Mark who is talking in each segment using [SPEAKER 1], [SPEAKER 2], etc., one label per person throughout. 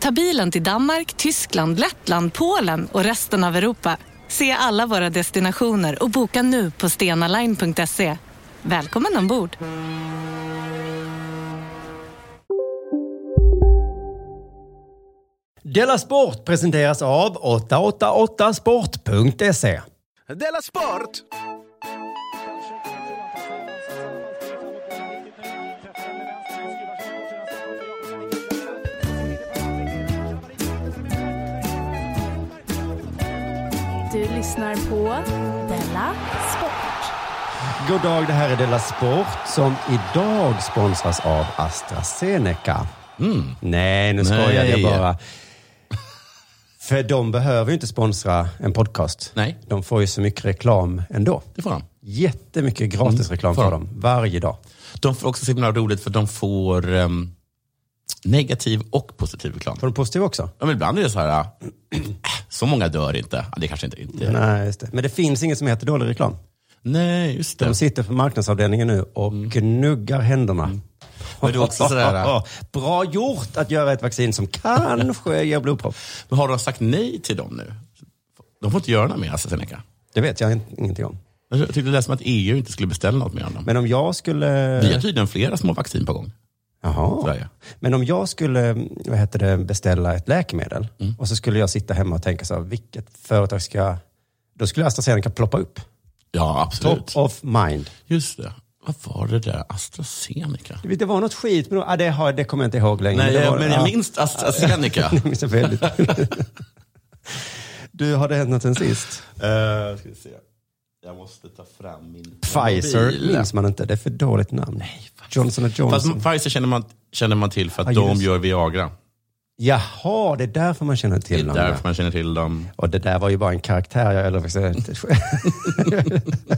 [SPEAKER 1] Ta bilen till Danmark, Tyskland, Lettland, Polen och resten av Europa. Se alla våra destinationer och boka nu på stenaline.se. Välkommen ombord!
[SPEAKER 2] Della Sport presenteras av 888sport.se.
[SPEAKER 3] Della Sport!
[SPEAKER 4] Du lyssnar på Della Sport.
[SPEAKER 2] God dag, det här är Della Sport som idag sponsras av AstraZeneca. Nej, nu skojade jag
[SPEAKER 3] Mm. Nej.
[SPEAKER 2] bara. För de behöver ju inte sponsra en podcast.
[SPEAKER 3] Nej.
[SPEAKER 2] De får ju så mycket reklam ändå.
[SPEAKER 3] Det får de.
[SPEAKER 2] Jättemycket gratisreklam
[SPEAKER 3] Mm, får
[SPEAKER 2] får
[SPEAKER 3] de.
[SPEAKER 2] de varje dag.
[SPEAKER 3] De får också så himla roligt för de får ehm, negativ och positiv reklam.
[SPEAKER 2] Får de positiv också?
[SPEAKER 3] Ja, men ibland är det så här, äh, så många dör inte. Ja, det kanske inte, inte
[SPEAKER 2] Nej, just det. Men det finns inget som heter dålig reklam.
[SPEAKER 3] Nej, just det.
[SPEAKER 2] De sitter på marknadsavdelningen nu och gnuggar händerna.
[SPEAKER 3] Mm. Men det är också sådär-
[SPEAKER 2] Bra gjort att göra ett vaccin som kanske ger blodpropp.
[SPEAKER 3] Men har de sagt nej till dem nu? De får inte göra något med AstraZeneca.
[SPEAKER 2] Det vet jag in- ingenting om.
[SPEAKER 3] Jag tyckte det lät som att EU inte skulle beställa något mer av dem.
[SPEAKER 2] Men eh, om jag skulle...
[SPEAKER 3] Vi har tydligen flera små vaccin på gång.
[SPEAKER 2] Jaha.
[SPEAKER 3] Sverige.
[SPEAKER 2] Men om jag skulle vad heter det, beställa ett läkemedel
[SPEAKER 3] Mm.
[SPEAKER 2] och så skulle jag sitta hemma och tänka så här, vilket företag ska... jag- Då skulle AstraZeneca ploppa upp.
[SPEAKER 3] Ja,
[SPEAKER 2] Top
[SPEAKER 3] absolut.
[SPEAKER 2] of mind.
[SPEAKER 3] Just det. Vad var det där? AstraZeneca?
[SPEAKER 2] Det var något skit med det. Ah, det, har, det kommer jag inte ihåg längre.
[SPEAKER 3] Nej,
[SPEAKER 2] det var,
[SPEAKER 3] men jag
[SPEAKER 2] ja.
[SPEAKER 3] minns AstraZeneca.
[SPEAKER 2] Jag minns det väldigt. du, har det hänt något sen sist?
[SPEAKER 3] Eh, ska vi se. Jag måste ta fram min
[SPEAKER 2] Pfizer
[SPEAKER 3] mobil.
[SPEAKER 2] minns man inte. Det är för dåligt namn. Johnson
[SPEAKER 3] Fast
[SPEAKER 2] Johnson.
[SPEAKER 3] Pfizer känner man, känner man till för att
[SPEAKER 2] Ja,
[SPEAKER 3] de
[SPEAKER 2] just.
[SPEAKER 3] gör Viagra.
[SPEAKER 2] Jaha, det är därför man känner
[SPEAKER 3] Det är
[SPEAKER 2] till namnet.
[SPEAKER 3] därför man känner till dem.
[SPEAKER 2] Och det där var ju bara en karaktär. Jag, eller, vad ska jag säga?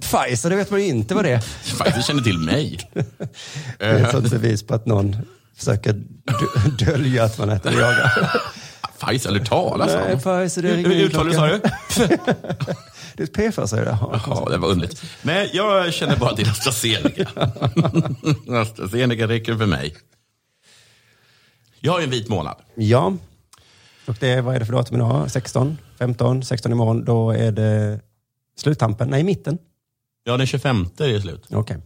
[SPEAKER 2] Pfizer, det vet man ju inte vad det är.
[SPEAKER 3] Pfizer känner till mig.
[SPEAKER 2] Det är ett sånt bevis på att någon försöker dö- dölja att man äter Viagra.
[SPEAKER 3] Pfizer, eller talas om.
[SPEAKER 2] Nej, Pfizer, det ringer
[SPEAKER 3] Hur uttalar du, sa du?
[SPEAKER 2] klockan. Det är ett P för sig. det.
[SPEAKER 3] Ja, det var underligt. Men jag känner bara till AstraZeneca. AstraZeneca räcker för mig. Jag har ju en vit månad.
[SPEAKER 2] Ja. Och det, vad är det för datum idag? 16, 15, 16 imorgon. Då är det sluttampen. Nej, mitten.
[SPEAKER 3] Ja, den 25 är det slut.
[SPEAKER 2] Okej.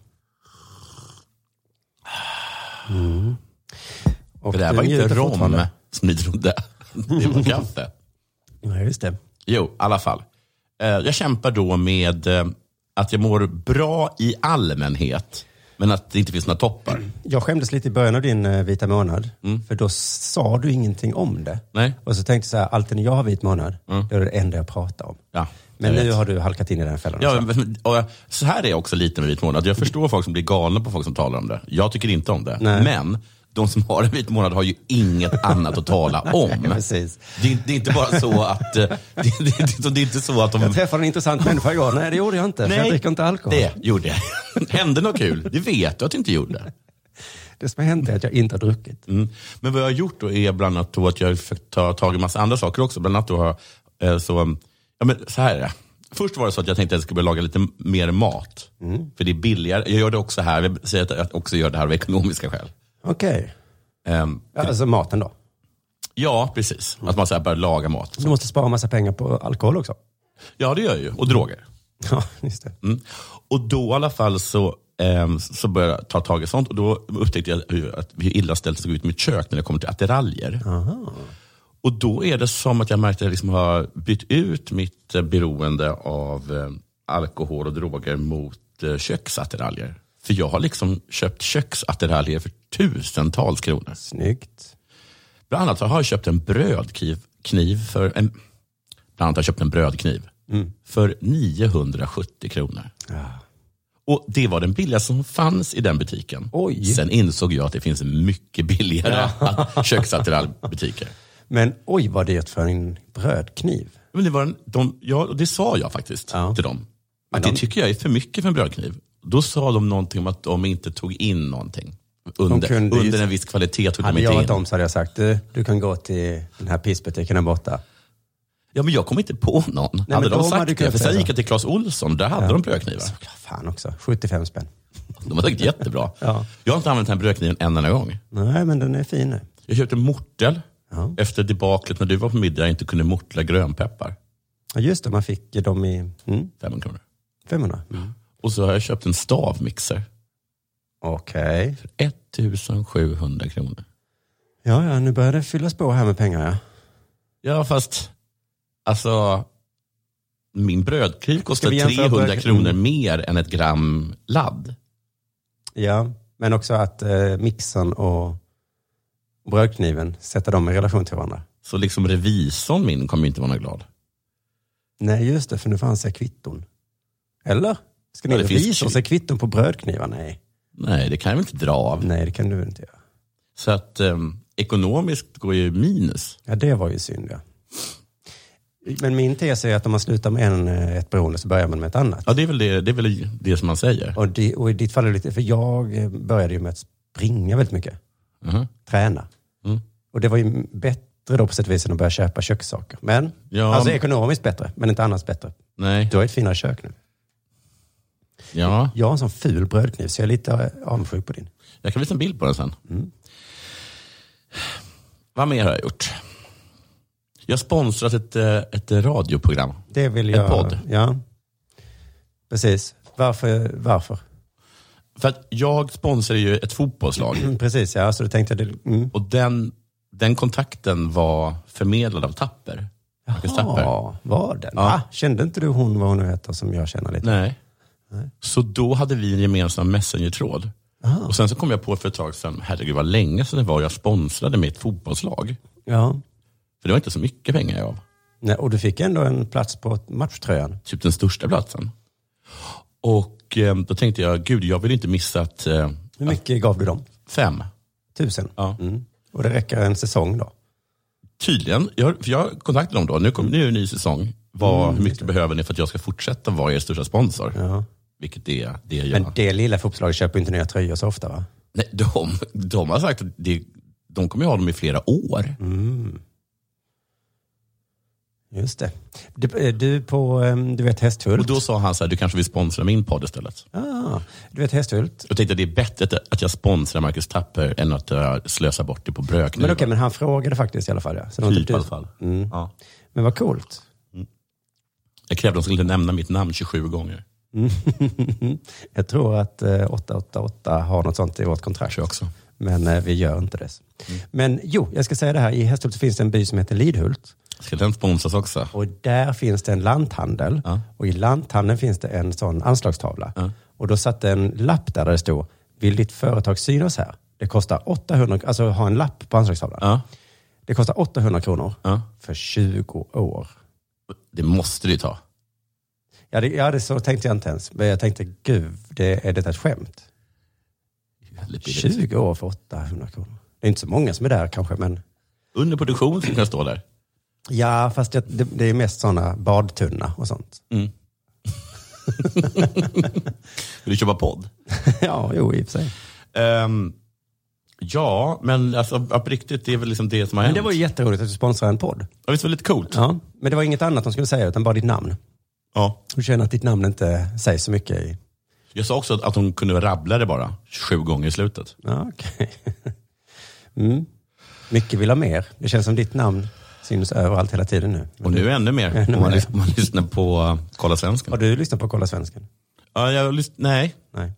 [SPEAKER 2] Mm. Och
[SPEAKER 3] För det här
[SPEAKER 2] du
[SPEAKER 3] var inte
[SPEAKER 2] njuter
[SPEAKER 3] rom
[SPEAKER 2] fortfarande.
[SPEAKER 3] som ni trodde. Det var kaffe.
[SPEAKER 2] Nej, just det.
[SPEAKER 3] Jo, i alla fall. Eh, Jag kämpar då med eh, att jag mår bra i allmänhet, men att det inte finns några toppar.
[SPEAKER 2] Jag skämdes lite i början av din eh, vita månad. För då sa du ingenting om det.
[SPEAKER 3] Mm. Nej. Mm.
[SPEAKER 2] Och så tänkte jag så här, alltid när jag har vit månad, då är det det enda jag pratar om.
[SPEAKER 3] Ja,
[SPEAKER 2] Men
[SPEAKER 3] jag
[SPEAKER 2] nu
[SPEAKER 3] vet.
[SPEAKER 2] har du halkat in i den fällan.
[SPEAKER 3] Ja,
[SPEAKER 2] också.
[SPEAKER 3] men- och jag- så här är jag också lite med vit månad. Jag förstår folk som blir galna på folk som talar om det. Jag tycker inte om det.
[SPEAKER 2] Nej.
[SPEAKER 3] Men de som har en vit månad har ju inget annat att tala om.
[SPEAKER 2] precis.
[SPEAKER 3] Det, är- det är inte bara så att... eh, Det, det, det, det är inte så att de...
[SPEAKER 2] Jag träffade en intressant människa igår. Nej, det gjorde jag inte. för jag dricker inte alkohol.
[SPEAKER 3] Mm. det
[SPEAKER 2] Det.
[SPEAKER 3] gjorde jag. Hände något kul? Det vet jag att jag inte gjorde.
[SPEAKER 2] som har hänt är att jag inte har druckit.
[SPEAKER 3] Mm. Men vad jag har gjort då är bland annat då att jag har försökt ta tag i massa andra saker också. Bland annat då har jag, eh, så, ja men så här är det. Först var det så att jag tänkte att jag skulle börja laga lite mer mat. För det är billigare. Jag gör det också här. Jag säger att jag också gör det här av ekonomiska skäl.
[SPEAKER 2] Okej.
[SPEAKER 3] Ehm,
[SPEAKER 2] Ja, alltså maten då.
[SPEAKER 3] ja, precis. Att man så här börjar laga mat.
[SPEAKER 2] Du måste spara massa pengar på alkohol också.
[SPEAKER 3] Ja, det gör jag ju. Och droger.
[SPEAKER 2] Ja, just det.
[SPEAKER 3] Mm. Och då i alla fall så, ehm, så började jag ta tag i sånt och då upptäckte jag hur, att hur illa ställt det såg ut i mitt kök när det kommer till attiraljer. Och då är det som att jag märkte att jag liksom har bytt ut mitt eh, beroende av eh, alkohol och droger mot eh, köksattiraljer. För jag har liksom köpt köksattiraljer för tusentals kronor.
[SPEAKER 2] Snyggt.
[SPEAKER 3] Bland annat så har jag köpt en brödkniv kniv för en, Bland annat har jag köpt en brödkniv
[SPEAKER 2] Mm.
[SPEAKER 3] för 970 kronor. Och Det var den billigaste som fanns i den butiken.
[SPEAKER 2] Oj.
[SPEAKER 3] Sen insåg jag att det finns mycket billigare köksattirallbutiker.
[SPEAKER 2] Men oj vad dyrt för en brödkniv.
[SPEAKER 3] Men det, var en, de, ja, och det sa jag faktiskt
[SPEAKER 2] Ja.
[SPEAKER 3] till dem.
[SPEAKER 2] Men
[SPEAKER 3] Att det
[SPEAKER 2] de-
[SPEAKER 3] tycker jag är för mycket för en brödkniv. Då sa de någonting om att de inte tog in någonting. Under,
[SPEAKER 2] kunde ju-
[SPEAKER 3] under en viss kvalitet tog de
[SPEAKER 2] Hade jag
[SPEAKER 3] inte in.
[SPEAKER 2] varit dem så hade jag sagt, du, du kan gå till den här pissbutiken där borta.
[SPEAKER 3] Ja, men jag kom inte på någon. hade
[SPEAKER 2] men
[SPEAKER 3] de
[SPEAKER 2] de
[SPEAKER 3] sagt
[SPEAKER 2] hade
[SPEAKER 3] det?
[SPEAKER 2] kunnat
[SPEAKER 3] För sen
[SPEAKER 2] säga.
[SPEAKER 3] gick jag till Clas Ohlson, där hade de brödknivar.
[SPEAKER 2] Så, ja, fan också, 75 spänn.
[SPEAKER 3] De var säkert jättebra.
[SPEAKER 2] Ja.
[SPEAKER 3] Jag har inte använt den här brödkniven en enda gång.
[SPEAKER 2] Nej, men den är fin. nu.
[SPEAKER 3] Jag köpte mortel
[SPEAKER 2] Ja.
[SPEAKER 3] efter debaklet när du var på middag och inte kunde mortla grönpeppar.
[SPEAKER 2] Ja, just det, man fick ju dem i mm,
[SPEAKER 3] 500 kronor.
[SPEAKER 2] 500.
[SPEAKER 3] Och så har jag köpt en stavmixer
[SPEAKER 2] Okej.
[SPEAKER 3] för 1700 kronor.
[SPEAKER 2] Ja, ja, nu börjar det fyllas på här med pengar. Ja.
[SPEAKER 3] Ja, fast alltså min brödkniv kostar
[SPEAKER 2] vi jämföra Mm.
[SPEAKER 3] 300
[SPEAKER 2] bröd-
[SPEAKER 3] kronor mer än ett gram ladd.
[SPEAKER 2] ja, men också att eh, mixen och brödkniven, sätta dem i relation till varandra.
[SPEAKER 3] Så liksom revisorn min kommer ju inte vara någon glad.
[SPEAKER 2] Nej, just det, för nu fanns det kvitton. Eller? Ska ni
[SPEAKER 3] Ja, det finns
[SPEAKER 2] visa
[SPEAKER 3] kvi-
[SPEAKER 2] sig kvitton på brödknivar? Nej.
[SPEAKER 3] Nej, det kan jag väl inte dra av.
[SPEAKER 2] Nej, det kan du väl inte göra.
[SPEAKER 3] Så att ehm, ekonomiskt går ju minus.
[SPEAKER 2] Ja, det var ju synd ja. Men min tes är att om man slutar med en, eh, ett beroende så börjar man med ett annat.
[SPEAKER 3] Ja, det är väl det, det, är väl det som man säger.
[SPEAKER 2] Och, det, och i ditt fall är det lite, för jag eh, började ju med att springa väldigt mycket.
[SPEAKER 3] Mhm.
[SPEAKER 2] Träna.
[SPEAKER 3] Mm.
[SPEAKER 2] Och det var ju bättre då på sätt och vis än att börja köpa kökssaker. Men,
[SPEAKER 3] Ja.
[SPEAKER 2] alltså ekonomiskt bättre, men inte annars bättre.
[SPEAKER 3] Nej,
[SPEAKER 2] Du har ett finare kök nu.
[SPEAKER 3] ja.
[SPEAKER 2] Jag har en sån ful brödkniv så jag är lite eh, avundsjuk på din.
[SPEAKER 3] Jag kan visa en bild på den sen. Vad mer har jag gjort? Jag har sponsrat ett, eh, ett radioprogram.
[SPEAKER 2] Det vill
[SPEAKER 3] En
[SPEAKER 2] jag...
[SPEAKER 3] podd.
[SPEAKER 2] Ja. Precis. Varför? varför?
[SPEAKER 3] För att jag sponsrar ju ett fotbollslag.
[SPEAKER 2] Mm, Precis, ja. Så då tänkte jag... Det, mm.
[SPEAKER 3] Och den, den kontakten var förmedlad av Tapper. Marcus Tapper.
[SPEAKER 2] Ja, var den?
[SPEAKER 3] Ja.
[SPEAKER 2] Ah, kände inte du hon, vad hon nu heter, som jag känner lite?
[SPEAKER 3] Nej. Så då hade vi en gemensam messengertråd. Och sen så kom jag på för ett tag sedan, herregud vad länge sedan det var jag sponsrade mitt fotbollslag.
[SPEAKER 2] Ja.
[SPEAKER 3] För det var inte så mycket pengar jag av.
[SPEAKER 2] Nej, och du fick ändå en plats på matchtröjan.
[SPEAKER 3] Typ den största platsen. Och eh, då tänkte jag, gud jag vill inte missa att eh,
[SPEAKER 2] Hur mycket gav du dem?
[SPEAKER 3] fem.
[SPEAKER 2] Tusen?
[SPEAKER 3] Ja.
[SPEAKER 2] Mm. Och det räcker en säsong då?
[SPEAKER 3] Tydligen, jag, för jag kontaktade dem då, nu, kom, nu är det en ny säsong. Vad, hur mycket behöver ni för att jag ska fortsätta vara er största sponsor?
[SPEAKER 2] Ja.
[SPEAKER 3] Vilket det är det jag gör.
[SPEAKER 2] Men det lilla fotbollslaget köper ju inte nya tröjor så ofta va?
[SPEAKER 3] Nej, de, de har sagt att det, de kommer ju ha dem i flera år.
[SPEAKER 2] Just det. Du, eh, du på, ehm, du vet Hästhult?
[SPEAKER 3] Och då sa han så här, du kanske vill sponsra min podd istället.
[SPEAKER 2] ah, du vet Hästhult?
[SPEAKER 3] Jag tänkte att det är bättre att- att jag sponsrar Marcus Tapper än att jag slösar bort det på brödknivar.
[SPEAKER 2] Men okej, men han frågade faktiskt i alla fall. Ja. Så det var
[SPEAKER 3] typ
[SPEAKER 2] inte Mm.
[SPEAKER 3] i
[SPEAKER 2] du.
[SPEAKER 3] alla fall. Ja.
[SPEAKER 2] Men vad coolt.
[SPEAKER 3] Jag krävde att de skulle nämna mitt namn 27 gånger.
[SPEAKER 2] Jag tror att eh, 888 har något sånt i vårt kontrakt.
[SPEAKER 3] Tror jag också. Mm.
[SPEAKER 2] Men eh, vi gör inte det. Men jo, jag ska säga det här. I Hästhult finns det en by som heter Lidhult.
[SPEAKER 3] Ska den sponsras också?
[SPEAKER 2] Och där finns det en lanthandel.
[SPEAKER 3] Ja.
[SPEAKER 2] Och i lanthandeln finns det en sån anslagstavla. Och då satt en lapp där, där det stod, vill ditt företag synas här? Det kostar 800, alltså ha en lapp på anslagstavlan.
[SPEAKER 3] Ja.
[SPEAKER 2] Det kostar 800 kronor
[SPEAKER 3] Ja.
[SPEAKER 2] för 20 år.
[SPEAKER 3] Det måste du ju ta.
[SPEAKER 2] Ja, det, ja det, så tänkte jag inte ens. Men jag tänkte, gud, det, är detta ett skämt?
[SPEAKER 3] Väldigt billigt.
[SPEAKER 2] 20 år för 800 kronor. Det är inte så många som är där kanske, men
[SPEAKER 3] Under produktion skulle jag stå där.
[SPEAKER 2] ja, fast det, det, det är mest sådana badtunna och sånt.
[SPEAKER 3] Vill du köpa podd?
[SPEAKER 2] ja, jo, i och för sig.
[SPEAKER 3] Ehm, ja, men alltså, på riktigt, det är väl liksom det som har
[SPEAKER 2] Men
[SPEAKER 3] hänt.
[SPEAKER 2] det var ju jätteroligt att du sponsrar en podd.
[SPEAKER 3] Ja, visst var det lite coolt?
[SPEAKER 2] Ja, men det var inget annat de skulle säga, utan bara ditt namn.
[SPEAKER 3] Ja.
[SPEAKER 2] Du känner att ditt namn inte sägs så mycket i...
[SPEAKER 3] Jag sa också att, att hon kunde rabbla det bara, 27 gånger i slutet.
[SPEAKER 2] Ja, okej. Mm. Mycket vill ha mer. Det känns som ditt namn syns överallt hela tiden nu.
[SPEAKER 3] Och nu ännu mer,
[SPEAKER 2] Ännu
[SPEAKER 3] om, man,
[SPEAKER 2] mer.
[SPEAKER 3] om man lyssnar på eh, Kolla
[SPEAKER 2] Har
[SPEAKER 3] Svensken.
[SPEAKER 2] du lyssnat på Kolla Svensken?
[SPEAKER 3] Ja, jag, har lys- nej,
[SPEAKER 2] Nej.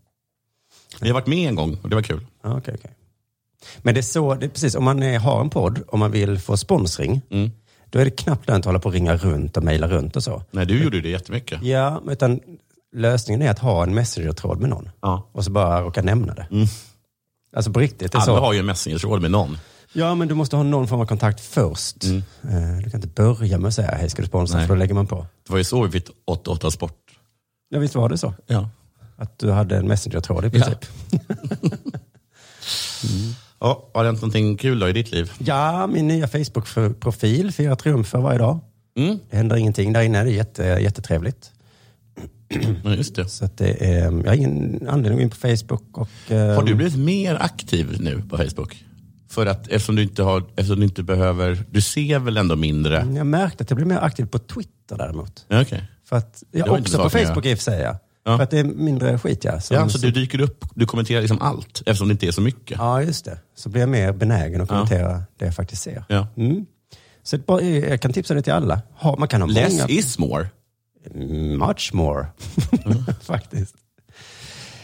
[SPEAKER 3] jag har varit med en gång och det var kul.
[SPEAKER 2] Ja, Ah, Okej, okej. Men det är så, det är precis, om man eh, har en podd och man vill få sponsring,
[SPEAKER 3] Mm.
[SPEAKER 2] då är det knappt lönt att hålla på och ringa runt och mejla runt och så.
[SPEAKER 3] Nej, du gjorde ju det jättemycket.
[SPEAKER 2] Ja, utan lösningen är att ha en messengertråd med någon.
[SPEAKER 3] Ja. Mm.
[SPEAKER 2] Och så bara råka nämna det. Alltså på riktigt, det är
[SPEAKER 3] Alla
[SPEAKER 2] så.
[SPEAKER 3] har ju en messengertråd med någon.
[SPEAKER 2] Ja, men du måste ha någon form av kontakt först. Eh, Du kan inte börja med att säga, hej ska du sponsra?
[SPEAKER 3] Mm. Nej.
[SPEAKER 2] För då lägger man på.
[SPEAKER 3] Det var ju så vi fick 88 Sport.
[SPEAKER 2] Ja, visst var det så?
[SPEAKER 3] Ja.
[SPEAKER 2] Att du hade en messenger-tråd i princip?
[SPEAKER 3] ja. Har det hänt någonting kul då i ditt liv?
[SPEAKER 2] Ja, min nya Facebook-profil firar triumfer varje dag. Det händer ingenting där inne, det är jätte, jättetrevligt.
[SPEAKER 3] Ja, just det.
[SPEAKER 2] Så att det är, jag har ingen anledning att gå in på Facebook. Och, eh,
[SPEAKER 3] Har du blivit mer aktiv nu på Facebook? För att eftersom du inte, har, eftersom du inte behöver, du ser väl ändå mindre?
[SPEAKER 2] Jag märkte att jag blev mer aktiv på Twitter däremot.
[SPEAKER 3] Ja, Okej.
[SPEAKER 2] För att,
[SPEAKER 3] Det
[SPEAKER 2] ja,
[SPEAKER 3] var inte
[SPEAKER 2] också på
[SPEAKER 3] saken jag-
[SPEAKER 2] Facebook i och för sig. Ja.
[SPEAKER 3] Ja.
[SPEAKER 2] För att det är mindre skit ja. Som,
[SPEAKER 3] Ja, så du dyker upp, du kommenterar liksom allt eftersom det inte är så mycket.
[SPEAKER 2] Mm. ja, just det. Så blir jag mer benägen att
[SPEAKER 3] Ja.
[SPEAKER 2] kommentera det jag faktiskt ser.
[SPEAKER 3] Ja.
[SPEAKER 2] Mm. Så ett bra, jag kan tipsa det till alla. Ha, man kan ha
[SPEAKER 3] Less
[SPEAKER 2] många...
[SPEAKER 3] is more.
[SPEAKER 2] Much more, faktiskt.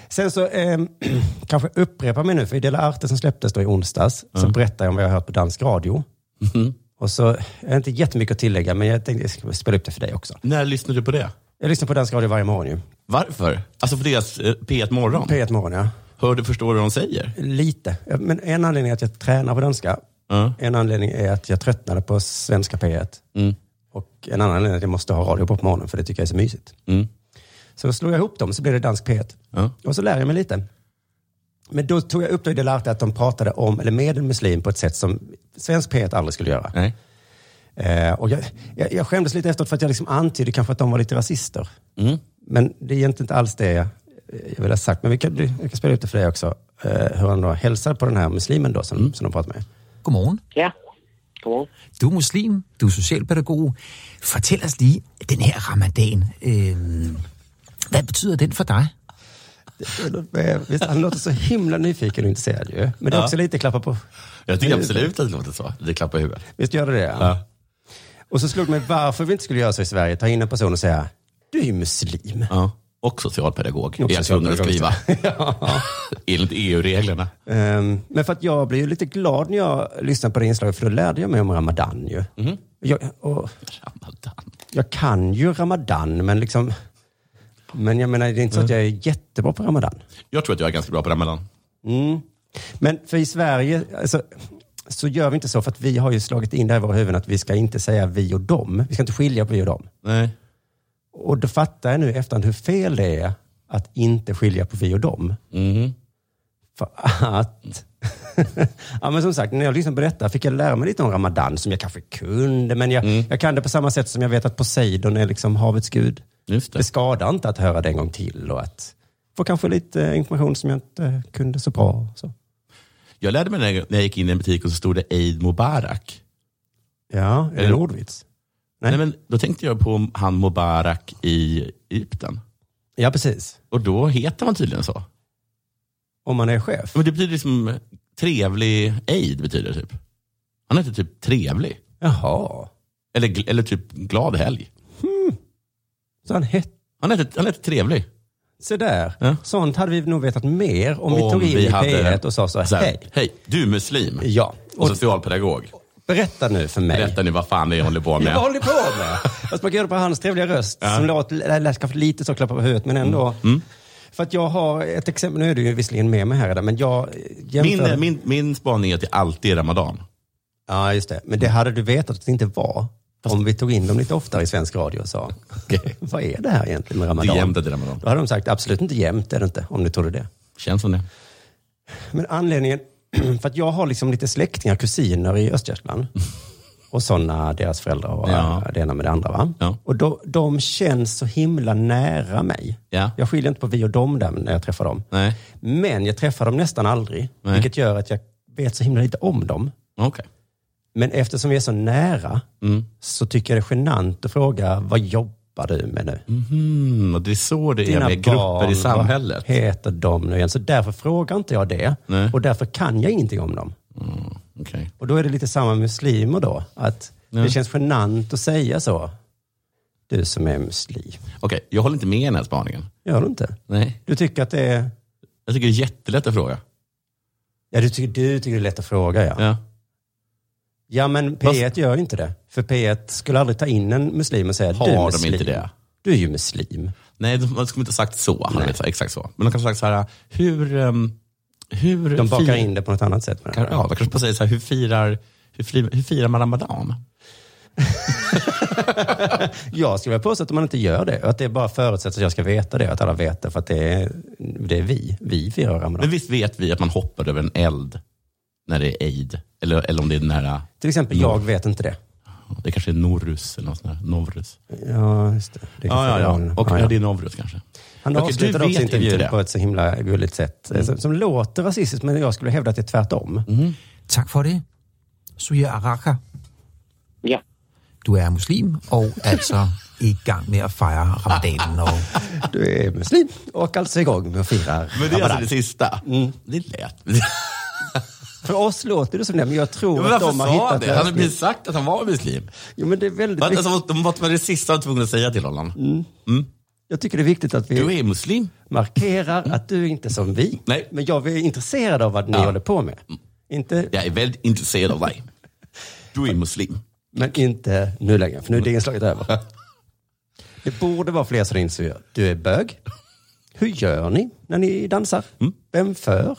[SPEAKER 2] Sen så, eh, kanske upprepa mig nu, för i Dela Arte som släpptes då i onsdags, så berättar jag om vad jag har hört på dansk radio. Och så, jag har inte jättemycket att tillägga, men jag tänkte jag ska spela upp det för dig också.
[SPEAKER 3] När lyssnar du på det?
[SPEAKER 2] Jag lyssnar på dansk radio varje morgon ju.
[SPEAKER 3] Varför? Alltså för deras eh, P1 Morgon?
[SPEAKER 2] P1 Morgon, ja.
[SPEAKER 3] Hör du, förstår du vad de säger?
[SPEAKER 2] Lite. Men en anledning är att jag tränar på danska.
[SPEAKER 3] Ja.
[SPEAKER 2] En anledning är att jag tröttnade på svenska P1.
[SPEAKER 3] Mm.
[SPEAKER 2] Och en annan anledning är att jag måste ha radio på på morgonen, för det tycker jag är så mysigt.
[SPEAKER 3] Mm.
[SPEAKER 2] Så då slog jag ihop dem, så blev det dansk P1.
[SPEAKER 3] Ja.
[SPEAKER 2] Och så lär jag mig lite. Men då tog jag upp det i Delarte att de pratade om, eller med en muslim på ett sätt som svensk P1 aldrig skulle göra.
[SPEAKER 3] Nej.
[SPEAKER 2] Eh, och jag, jag, jag skämdes lite efteråt för att jag liksom antydde kanske att de var lite rasister.
[SPEAKER 3] Mm.
[SPEAKER 2] Men det är egentligen inte alls det jag, jag vill ha sagt. Men vi kan, jag kan spela ut det för dig också. Eh, hur han då hälsar på den här muslimen då
[SPEAKER 3] Mm.
[SPEAKER 2] som, som de pratar med.
[SPEAKER 5] Godmorgen.
[SPEAKER 6] Ja, godmorgen.
[SPEAKER 5] Du er muslim, du er socialpædagog. Fortæl os lige, den her ramadan, øh, hvad betyder den for dig?
[SPEAKER 2] Eh, Visst, han låter så himla nyfiken och intresserad ju. Men det är också lite klappa på.
[SPEAKER 3] Jag tycker
[SPEAKER 2] Men-
[SPEAKER 3] absolut att det låter så. Det klappar i huvudet.
[SPEAKER 2] Visst gör det det?
[SPEAKER 3] Ja.
[SPEAKER 2] Och så slog det mig varför vi inte skulle göra så i Sverige. Ta in en person och säga, du är ju muslim.
[SPEAKER 3] Ja. Och socialpedagog.
[SPEAKER 2] Och
[SPEAKER 3] är jag tvungen att skriva.
[SPEAKER 2] socialpedagog.
[SPEAKER 3] Enligt E EU-reglerna.
[SPEAKER 2] Ehm, men för att jag blir ju lite glad när jag lyssnar på det inslaget, för då lärde jag mig om Ramadan ju. Jag, och
[SPEAKER 3] Ramadan.
[SPEAKER 2] jag kan ju Ramadan, men liksom... Men jag menar, det är inte så att jag är jättebra på Ramadan.
[SPEAKER 3] Jag tror att jag är ganska bra på Ramadan.
[SPEAKER 2] Mm. Men för i Sverige alltså, så gör vi inte så, för att vi har ju slagit in det här i våra huvuden att vi ska inte säga vi och dem. Vi ska inte skilja på vi och dem.
[SPEAKER 3] Nej.
[SPEAKER 2] Och då fattar jag nu i efterhand hur fel det är att inte skilja på vi och dem.
[SPEAKER 3] Mhm.
[SPEAKER 2] För att... ja, men som sagt, när jag lyssnade på detta fick jag lära mig lite om Ramadan, som jag kanske kunde, men jag, jag kan det på samma sätt som jag vet att Poseidon är liksom havets gud.
[SPEAKER 3] Just
[SPEAKER 2] Det
[SPEAKER 3] det.
[SPEAKER 2] skadar inte att höra det en gång till och att få kanske lite information som jag inte kunde så bra. och Så.
[SPEAKER 3] Jag lärde mig när jag- när jag gick in i en butik och så stod det Eid Mubarak.
[SPEAKER 2] Ja, är det en
[SPEAKER 3] Eller-
[SPEAKER 2] ordvits? Nej.
[SPEAKER 3] Nej. men då tänkte jag på han Mubarak i Egypten.
[SPEAKER 2] Ja, precis.
[SPEAKER 3] Och då heter man tydligen så.
[SPEAKER 2] Om man är chef.
[SPEAKER 3] Men det betyder liksom trevlig Eid betyder det typ. Han heter typ trevlig.
[SPEAKER 2] Jaha.
[SPEAKER 3] Eller, gl- eller typ glad helg.
[SPEAKER 2] Så han hette...
[SPEAKER 3] Han heter, han heter trevlig.
[SPEAKER 2] Se där.
[SPEAKER 3] Ja.
[SPEAKER 2] Sånt hade vi nog vetat mer om, vi tog in i P1 och sa så här, hej.
[SPEAKER 3] hej, du är muslim
[SPEAKER 2] Ja.
[SPEAKER 3] och
[SPEAKER 2] Och
[SPEAKER 3] socialpedagog.
[SPEAKER 2] berätta nu för mig.
[SPEAKER 3] Berätta nu vad fan det är jag håller på
[SPEAKER 2] Ja, Vad
[SPEAKER 3] med.
[SPEAKER 2] håller ni på med? Fast man kan göra det på hans trevliga röst, som låt, lät kanske lite så klappa på huvudet,
[SPEAKER 3] Mm.
[SPEAKER 2] men ändå. För att jag har ett exempel, nu är du ju visserligen med mig här redan, men jag eh, jämför...
[SPEAKER 3] Min, min, min spaning är att det alltid är ramadan.
[SPEAKER 2] Ja, just det. Men det hade du vetat att det inte var, om vi tog in dem lite oftare i svensk radio och sa, vad är det här egentligen med
[SPEAKER 3] Det är
[SPEAKER 2] ramadan?
[SPEAKER 3] jämnt att det är ramadan.
[SPEAKER 2] Då hade de sagt, absolut inte jämnt är det inte, om ni trodde det.
[SPEAKER 3] Känns som det.
[SPEAKER 2] Men anledningen, för att jag har liksom lite släktingar, kusiner i Östergötland. Och sådana, deras föräldrar och
[SPEAKER 3] Ja.
[SPEAKER 2] det ena med det andra. Va?
[SPEAKER 3] Ja.
[SPEAKER 2] Och då, de känns så himla nära mig.
[SPEAKER 3] Ja.
[SPEAKER 2] Jag skiljer inte på vi och dem där när jag träffar dem.
[SPEAKER 3] Nej,
[SPEAKER 2] Men jag träffar dem nästan aldrig,
[SPEAKER 3] Nej.
[SPEAKER 2] vilket gör att jag vet så himla lite om dem.
[SPEAKER 3] okej.
[SPEAKER 2] Men eftersom vi är så nära
[SPEAKER 3] Mm.
[SPEAKER 2] så tycker jag det är genant att fråga, vad jobbar du med nu?
[SPEAKER 3] Mhm, och det är så det är
[SPEAKER 2] Dina
[SPEAKER 3] med grupper i
[SPEAKER 2] barn,
[SPEAKER 3] samhället.
[SPEAKER 2] Vad heter de nu igen? Så därför frågar inte jag det.
[SPEAKER 3] Nej.
[SPEAKER 2] Och därför kan jag ingenting om dem.
[SPEAKER 3] Okej.
[SPEAKER 2] Och då är det lite samma med muslimer då. Att det
[SPEAKER 3] Ja.
[SPEAKER 2] känns genant att säga så. Du som är muslim.
[SPEAKER 3] Okej, jag håller inte med i den här spaningen.
[SPEAKER 2] Gör du inte?
[SPEAKER 3] Nej.
[SPEAKER 2] Du tycker att det är...
[SPEAKER 3] Jag tycker det är jättelätt att fråga.
[SPEAKER 2] Ja, du tycker, du tycker det är lätt att fråga ja.
[SPEAKER 3] Ja.
[SPEAKER 2] Ja, men P1 gör ju inte det. För P1 skulle aldrig ta in en muslim och säga,
[SPEAKER 3] Har
[SPEAKER 2] du är
[SPEAKER 3] de
[SPEAKER 2] muslim.
[SPEAKER 3] inte det?
[SPEAKER 2] Du är ju muslim.
[SPEAKER 3] Nej, de de skulle inte ha sagt så. Han
[SPEAKER 2] Nej.
[SPEAKER 3] hade sagt exakt så. Men de kanske ha sagt så här, hur, ehm, Hur
[SPEAKER 2] De bakar
[SPEAKER 3] fir-
[SPEAKER 2] in det på något annat sätt. Med det.
[SPEAKER 3] Ja, de kanske bara säger så här, hur firar, hur flir, hur firar man ramadan?
[SPEAKER 2] Jag skulle vilja påstå att man inte gör det. och Att det bara förutsätts att jag ska veta det. Att alla vet det. För att det är, det är vi. Vi firar ramadan.
[SPEAKER 3] Men visst vet vi att man hoppar över en eld när det är eid? Eller, eller om det är nära,
[SPEAKER 2] Till exempel,
[SPEAKER 3] Mm.
[SPEAKER 2] jag vet inte det.
[SPEAKER 3] det kanske är norrus eller något sånt där. Novrus.
[SPEAKER 2] Ja, just det. det är
[SPEAKER 3] Ja, ja,
[SPEAKER 2] förra
[SPEAKER 3] ja.
[SPEAKER 2] gången.
[SPEAKER 3] Och,
[SPEAKER 2] Ja,
[SPEAKER 3] ja.
[SPEAKER 2] ja.
[SPEAKER 3] det är novrus kanske.
[SPEAKER 2] Han
[SPEAKER 3] Okej,
[SPEAKER 2] avslutade
[SPEAKER 3] du vet
[SPEAKER 2] också
[SPEAKER 3] ju
[SPEAKER 2] intervjun
[SPEAKER 3] det. Mm.
[SPEAKER 2] på ett så himla gulligt sätt. eh, Som, som låter rasistiskt, men jag skulle hävda att det är tvärtom.
[SPEAKER 5] Tak for det. Suya Araka,
[SPEAKER 6] Ja,
[SPEAKER 5] du er muslim og altså i gang med at fejre ramadanen. Og
[SPEAKER 2] Du är muslim och alltså igång med att fira
[SPEAKER 3] Men det är alltså
[SPEAKER 2] ramadan.
[SPEAKER 3] det sista?
[SPEAKER 2] Mm.
[SPEAKER 3] Det lät...
[SPEAKER 2] För oss låter det som det, men jag tror
[SPEAKER 3] Men
[SPEAKER 2] att
[SPEAKER 3] varför
[SPEAKER 2] de har
[SPEAKER 3] sa han
[SPEAKER 2] hittat
[SPEAKER 3] det? Han hade
[SPEAKER 2] lösningen.
[SPEAKER 3] precis sagt att han var muslim.
[SPEAKER 2] Jo, men det Mm. är väldigt
[SPEAKER 3] Att-
[SPEAKER 2] viktigt.
[SPEAKER 3] Alltså, de måste vara det sista de var tvungna att säga till honom.
[SPEAKER 2] Jag tycker det är viktigt att vi
[SPEAKER 3] Du är muslim.
[SPEAKER 2] markerar att du inte är som vi.
[SPEAKER 3] Nej.
[SPEAKER 2] Men jag är intresserad av vad ni
[SPEAKER 3] Ja. Mm.
[SPEAKER 2] håller på med. Inte,
[SPEAKER 3] Jag är väldigt intresserad av dig. Du är muslim.
[SPEAKER 2] Men inte nu längre, för nu är det inslaget över. Det borde vara fler som inser du är bög. Hur gör ni när ni dansar?
[SPEAKER 3] Mm.
[SPEAKER 2] Vem för?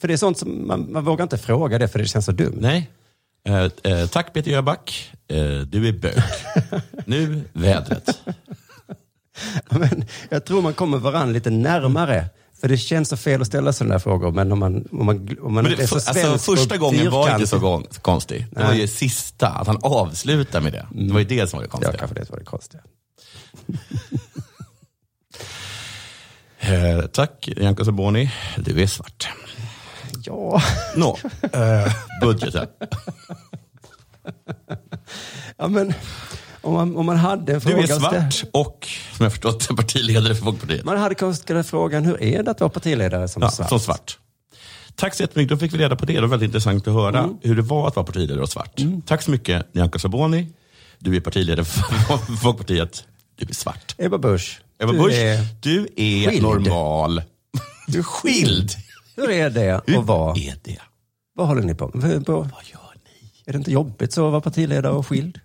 [SPEAKER 2] För det är sånt som man, man vågar inte fråga det för det känns så dumt.
[SPEAKER 3] Nej. Eh, eh, tack Peter Jöback. Eh, du är bög. nu vädret.
[SPEAKER 2] Men jag tror man kommer varandra lite närmare. För det känns så fel att ställa sådana där frågor. Men om man, om man, om man
[SPEAKER 3] Men
[SPEAKER 2] inte
[SPEAKER 3] det,
[SPEAKER 2] är så svensk
[SPEAKER 3] alltså, första
[SPEAKER 2] och
[SPEAKER 3] gången var inte
[SPEAKER 2] fyrkantig-
[SPEAKER 3] så gång, konstig. Det var ju sista, att han avslutar med det. Det var ju det som var det
[SPEAKER 2] Mm. Ja,
[SPEAKER 3] konstiga.
[SPEAKER 2] kanske det var det konstiga.
[SPEAKER 3] Eh, tack Janko Saboni. Du är svart.
[SPEAKER 2] Ja.
[SPEAKER 3] Nå, eh, budgeten.
[SPEAKER 2] ja, men om man, om man hade en fråga
[SPEAKER 3] Du är
[SPEAKER 2] att ställa-
[SPEAKER 3] svart och, som jag förstått, partiledare för Folkpartiet.
[SPEAKER 2] Man hade kunnat ställa frågan, hur är det att vara partiledare som
[SPEAKER 3] Ja,
[SPEAKER 2] svart?
[SPEAKER 3] som svart. Tack så jättemycket. Då fick vi reda på det. Det var väldigt intressant att höra
[SPEAKER 2] Mm.
[SPEAKER 3] hur det var att vara partiledare och svart. Tack så mycket Nyamko Saboni. Du är partiledare för Folkpartiet. Du är svart.
[SPEAKER 2] Ebba Busch.
[SPEAKER 3] Ebba
[SPEAKER 2] du
[SPEAKER 3] Busch,
[SPEAKER 2] är-
[SPEAKER 3] du är
[SPEAKER 2] skild.
[SPEAKER 3] normal. Du är skild.
[SPEAKER 2] Hur är det
[SPEAKER 3] Hur
[SPEAKER 2] att vara?
[SPEAKER 3] är det?
[SPEAKER 2] Vad håller ni på med? Vad
[SPEAKER 3] gör
[SPEAKER 2] ni? Är det inte jobbigt så att vara partiledare och skild?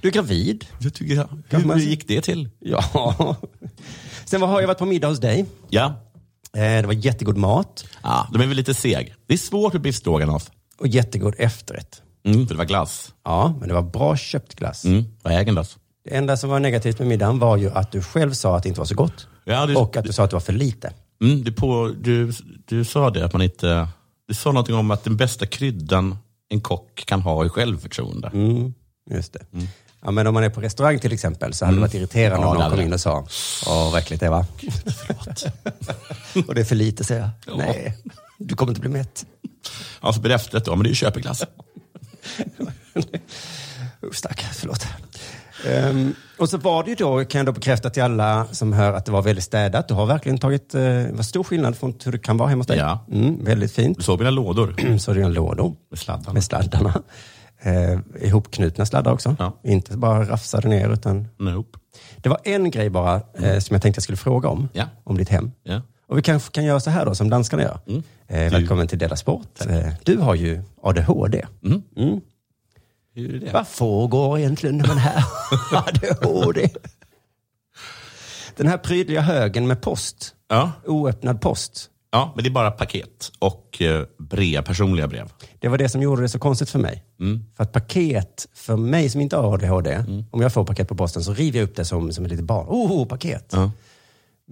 [SPEAKER 2] Du är gravid.
[SPEAKER 3] Jag tycker jag.
[SPEAKER 2] Kan
[SPEAKER 3] Hur
[SPEAKER 2] man-
[SPEAKER 3] gick det till?
[SPEAKER 2] Ja. Sen var- har jag varit på middag hos dig.
[SPEAKER 3] Ja,
[SPEAKER 2] Eh, Det var jättegod mat
[SPEAKER 3] ah, de är väl lite seg. Det är svårt med biff stroganoff.
[SPEAKER 2] och jättegod efterrätt.
[SPEAKER 3] Mm. För det var glass.
[SPEAKER 2] Ja, men det var bra köpt glass.
[SPEAKER 3] Mm. Vad äger en glass?
[SPEAKER 2] Det enda som var negativt med middagen var ju att du själv sa att det inte var så gott.
[SPEAKER 3] Ja, det-
[SPEAKER 2] och att du sa att det var för lite.
[SPEAKER 3] Mm, du, på, du, du sa det att man inte... Du sa någonting om att den bästa kryddan en kock kan ha är självförtroende.
[SPEAKER 2] Mm, Just det. Ja, men om man är på restaurang till exempel så hade det varit irriterande
[SPEAKER 3] Mm. Ja,
[SPEAKER 2] om
[SPEAKER 3] det
[SPEAKER 2] någon
[SPEAKER 3] hade
[SPEAKER 2] kom
[SPEAKER 3] det.
[SPEAKER 2] in och sa, åh vad äckligt det var. och det är för lite säger jag.
[SPEAKER 3] Ja.
[SPEAKER 2] Nej, du kommer inte bli mätt.
[SPEAKER 3] Alltså blir det efterrätt då, men det är ju köpeglass.
[SPEAKER 2] Oh, Stackars, förlåt. Ehm, och så var det ju då, kan jag då bekräfta till alla som hör, att det var väldigt städat. Du har verkligen tagit, eh, det var stor skillnad från hur det kan vara hemma hos dig.
[SPEAKER 3] Ja.
[SPEAKER 2] Mm, väldigt fint. Mm,
[SPEAKER 3] Du såg mina lådor
[SPEAKER 2] Så är det en lådor
[SPEAKER 3] med sladdarna.
[SPEAKER 2] med sladdarna. Eh, ihopknutna sladdar också.
[SPEAKER 3] Ja.
[SPEAKER 2] Inte bara rafsade ner, utan
[SPEAKER 3] Nope.
[SPEAKER 2] Det var en grej bara eh, som jag tänkte jag skulle fråga om.
[SPEAKER 3] Mm. Ja.
[SPEAKER 2] Om ditt hem.
[SPEAKER 3] Ja.
[SPEAKER 2] Och vi kanske kan göra så här då, som danskarna gör.
[SPEAKER 3] Mm.
[SPEAKER 2] Eh, välkommen till Della Sport. Eh, du har ju ADHD.
[SPEAKER 3] Mm. Hur är det?
[SPEAKER 2] Vad pågår egentligen när man här ADHD? Den här prydliga högen med post.
[SPEAKER 3] Ja.
[SPEAKER 2] Oöppnad post.
[SPEAKER 3] ja, men det är bara paket och eh, brev, personliga brev.
[SPEAKER 2] Det var det som gjorde det så konstigt för mig.
[SPEAKER 3] Mm.
[SPEAKER 2] För att paket, för mig som inte har ADHD, om jag får paket på posten så river jag upp det som, som ett litet barn. Oh, paket!
[SPEAKER 3] Ja.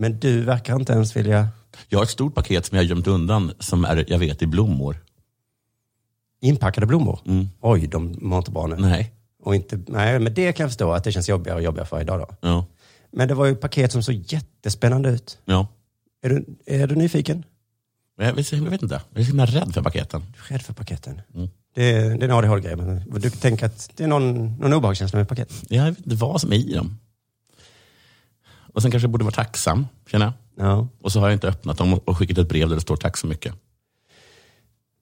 [SPEAKER 2] Men du verkar inte ens vilja
[SPEAKER 3] Jag har ett stort paket som jag har gömt undan som är, jag vet, i blommor.
[SPEAKER 2] Inpackade blommor? Oj, de mår inte bra nu.
[SPEAKER 3] Mm. Nej.
[SPEAKER 2] Och inte, nej, men det kan jag förstå att det känns jobbigare och jobbigare för varje dag. Då.
[SPEAKER 3] Ja.
[SPEAKER 2] Men det var ju paket som såg jättespännande ut.
[SPEAKER 3] ja.
[SPEAKER 2] Är du, är du nyfiken?
[SPEAKER 3] Men Jag, vet, jag vet inte. Jag är så himla rädd för paketen.
[SPEAKER 2] Du är rädd för paketen.
[SPEAKER 3] Mm.
[SPEAKER 2] Det, är- det är en ADHD-grej. men Du tänker att det är någon, någon obehagskänsla med paket?
[SPEAKER 3] Jag vet inte vad som är i dem. Och sen kanske jag borde vara tacksam, känner jag.
[SPEAKER 2] Ja.
[SPEAKER 3] Och så har jag inte öppnat dem och skickat ett brev där det står tack så mycket.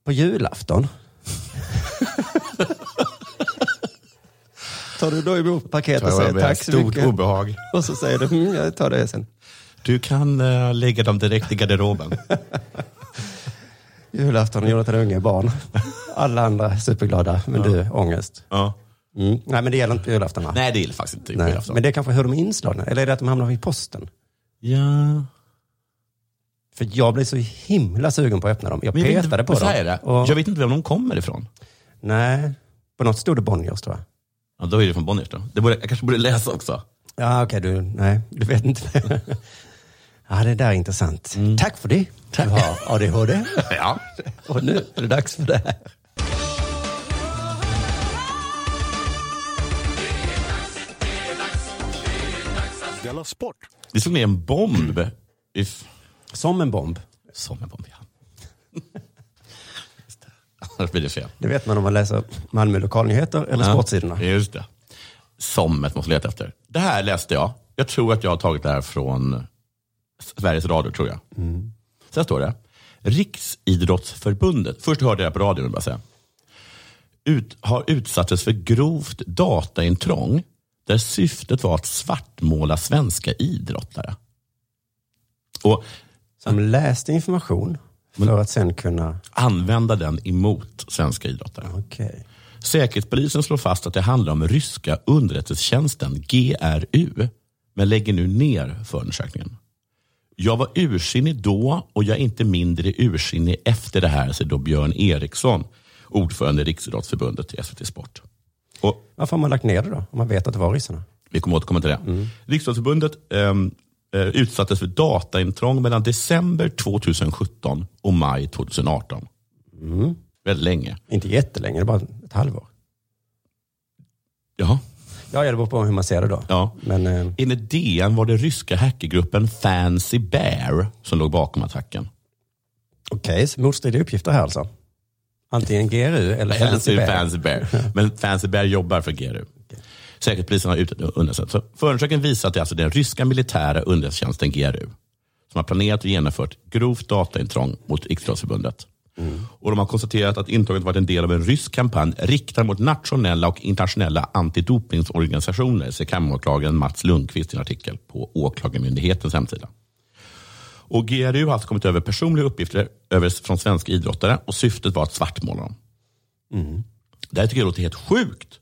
[SPEAKER 2] På julafton? tar du då emot paket och säger tack så
[SPEAKER 3] stort
[SPEAKER 2] mycket?
[SPEAKER 3] obehag.
[SPEAKER 2] Och så säger du, mm, jag tar det sen.
[SPEAKER 3] Du kan eh, lägga dem direkt i garderoben.
[SPEAKER 2] Julafton, Jonathan Unge är barn. Alla andra är superglada, men du, ångest.
[SPEAKER 3] ja.
[SPEAKER 2] Mm. Nej, men det gäller inte på julafton. va?
[SPEAKER 3] Nej, det gillar faktiskt inte
[SPEAKER 2] Nej.
[SPEAKER 3] julafton.
[SPEAKER 2] Men det är kanske hur de är inslagna. Eller är det att de hamnar i posten?
[SPEAKER 3] Ja.
[SPEAKER 2] För jag blev så himla sugen på att öppna dem. Jag
[SPEAKER 3] Men jag vet
[SPEAKER 2] petade
[SPEAKER 3] inte,
[SPEAKER 2] på
[SPEAKER 3] men så
[SPEAKER 2] dem.
[SPEAKER 3] här är det.
[SPEAKER 2] Och,
[SPEAKER 3] Jag vet inte vem de kommer ifrån.
[SPEAKER 2] Nej, på något stod det Bonniers tror jag.
[SPEAKER 3] Ja, då är det från Bonniers då. Det borde, jag kanske borde läsa också.
[SPEAKER 2] Ja, okej, du, nej, du vet inte. ja, det där är intressant. Mm. Tack för det. Du har ADHD.
[SPEAKER 3] Ja.
[SPEAKER 2] Och nu är det dags för det här.
[SPEAKER 6] Della Sport!
[SPEAKER 3] Det slog ner en bomb. If,
[SPEAKER 2] Som en bomb.
[SPEAKER 3] som en bomb, ja. Just det. Annars blir det fel.
[SPEAKER 2] Det vet man om man läser Malmö lokalnyheter eller sportsidorna.
[SPEAKER 3] Ja, just det. Sommet måste leta efter. Det här läste jag. Jag tror att jag har tagit det här från Sveriges Radio, tror jag. Så här står det. Riksidrottsförbundet, först hörde jag det på radion, vill jag bara säga. Ut, har utsattes för grovt dataintrång där syftet var att svartmåla svenska idrottare. Och
[SPEAKER 2] Som läste information för att sen kunna...
[SPEAKER 3] använda den emot svenska idrottare.
[SPEAKER 2] Okej.
[SPEAKER 3] Säkerhetspolisen slår fast att det handlar om ryska underrättelsetjänsten GRU, men lägger nu ner förundersökningen. Jag var ursinnig då och jag är inte mindre ursinnig efter det här, säger då Björn Eriksson, ordförande i Riksidrottsförbundet till SVT Sport. Och
[SPEAKER 2] Varför har man lagt ner det då? Om man vet att det var ryssarna?
[SPEAKER 3] vi kommer återkomma till det. Riksidrottsförbundet ehm, eh, utsattes för dataintrång mellan december 2017 och maj 2018.
[SPEAKER 2] Mm.
[SPEAKER 3] Väldigt länge.
[SPEAKER 2] Inte jättelänge, det är bara ett halvår.
[SPEAKER 3] Jaha.
[SPEAKER 2] Ja, ja, det beror på hur man ser det då.
[SPEAKER 3] Ja.
[SPEAKER 2] Men eh,
[SPEAKER 3] Enligt DN var det ryska hackergruppen Fancy Bear som låg bakom attacken.
[SPEAKER 2] okej, så motstridiga uppgifter här alltså. Antingen GRU eller
[SPEAKER 3] Fancy
[SPEAKER 2] NCB.
[SPEAKER 3] Bear. typ Fancy Bear. Men Fancy Bear jobbar för GRU. Säkerhetspolisen har utrett undersökt. Så Förundersökningen visar att det är alltså den ryska militära underrättelsetjänsten GRU som har planerat och genomfört grovt dataintrång mot Riksidrottsförbundet. Och de har konstaterat att intrånget varit en del av en rysk kampanj riktad mot nationella och internationella antidopningsorganisationer, säger kammaråklagaren Mats Lundqvist i en artikel på Åklagarmyndighetens hemsida. Och GRU har alltså kommit över personliga uppgifter över, från svenska idrottare och syftet var att svartmåla dem. Det här tycker jag låter helt sjukt.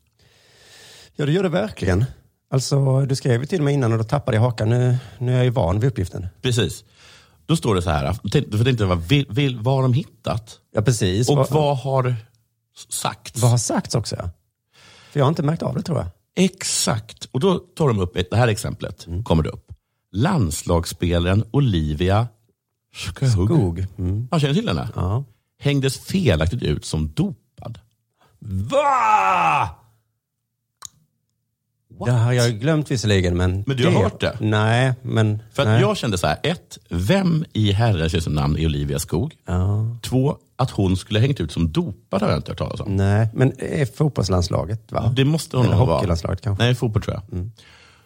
[SPEAKER 2] Ja, det gör det verkligen. Alltså, du skrev ju till mig innan och då tappade jag hakan. Nu, nu är jag ju van vid uppgiften.
[SPEAKER 3] Precis. Då står det så här, då tänkte- då tänkte jag, vad, vill, vill, vad har de hittat?
[SPEAKER 2] Ja, precis.
[SPEAKER 3] Och
[SPEAKER 2] vad, vad...
[SPEAKER 3] vad har sagts?
[SPEAKER 2] har sagts också? Ja. För jag har inte märkt av det tror jag.
[SPEAKER 3] Exakt. Och då tar de upp, ett- det här exemplet
[SPEAKER 2] Mm.
[SPEAKER 3] kommer det upp. Landslagsspelaren Olivia Skog.
[SPEAKER 2] Skog.
[SPEAKER 3] Ja, känner du till henne?
[SPEAKER 2] Ja.
[SPEAKER 3] Hängdes felaktigt ut som dopad.
[SPEAKER 2] Va? Det här har jag ju glömt visserligen. Men,
[SPEAKER 3] Men du har hört det?
[SPEAKER 2] Nej, men...
[SPEAKER 3] För att
[SPEAKER 2] nej.
[SPEAKER 3] jag kände så här, ett, vem i herrans jösses namn är Olivia Skog?
[SPEAKER 2] Ja.
[SPEAKER 3] Två, att hon skulle hängt ut som dopad har jag inte hört talas om.
[SPEAKER 2] Nej, men är fotbollslandslaget va?
[SPEAKER 3] Det måste hon
[SPEAKER 2] Eller
[SPEAKER 3] nog vara.
[SPEAKER 2] hockeylandslaget kanske.
[SPEAKER 3] Nej, fotboll tror jag.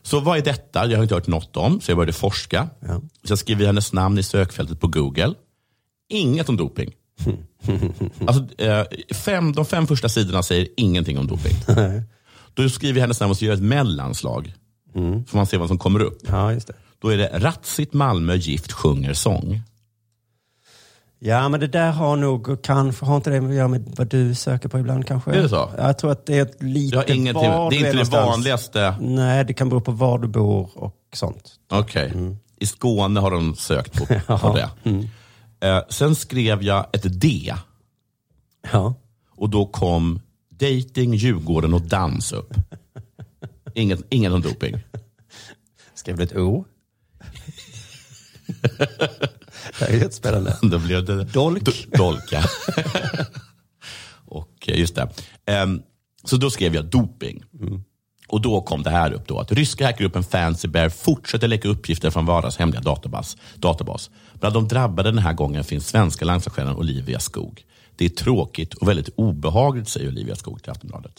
[SPEAKER 3] Så vad är detta? Jag har inte hört något om, så jag började forska.
[SPEAKER 2] Ja.
[SPEAKER 3] Så jag skrev hennes namn i sökfältet på Google. Inget om doping. alltså, eh, fem, de fem första sidorna säger ingenting om doping. Då skriver jag hennes namn och så gör jag ett mellanslag. Mm. Får man se vad som kommer upp.
[SPEAKER 2] Ja, just det.
[SPEAKER 3] Då är det Ratsigt Malmö gift sjunger sång.
[SPEAKER 2] Ja, men det där har nog kanske, har inte det att göra med vad du söker på ibland kanske?
[SPEAKER 3] Är det så?
[SPEAKER 2] Jag tror att det är ett
[SPEAKER 3] Det, har
[SPEAKER 2] litet
[SPEAKER 3] ingenting,
[SPEAKER 2] var
[SPEAKER 3] det är
[SPEAKER 2] du
[SPEAKER 3] inte det
[SPEAKER 2] någonstans.
[SPEAKER 3] vanligaste.
[SPEAKER 2] Nej, det kan bero på var du bor och sånt.
[SPEAKER 3] Okej. I Skåne har de sökt på, på det. Eh, sen skrev jag ett D
[SPEAKER 2] Ja.
[SPEAKER 3] och då kom dating, Djurgården och dans upp. Inget, inget om doping.
[SPEAKER 2] Skrev du ett O? det här är jättespännande.
[SPEAKER 3] Då blev det
[SPEAKER 2] Dolk.
[SPEAKER 3] Do, dolk, ja. och eh, just det. Ehm, så då skrev jag doping.
[SPEAKER 2] Mm.
[SPEAKER 3] Och då kom det här upp då, att ryska hackergruppen Fancy Bear fortsätter läcka uppgifter från Varas hemliga databas. databas. Bland de drabbade den här gången finns svenska landslagsstjärnan Olivia Skog. Det är tråkigt och väldigt obehagligt, säger Olivia Skog till Aftonbladet.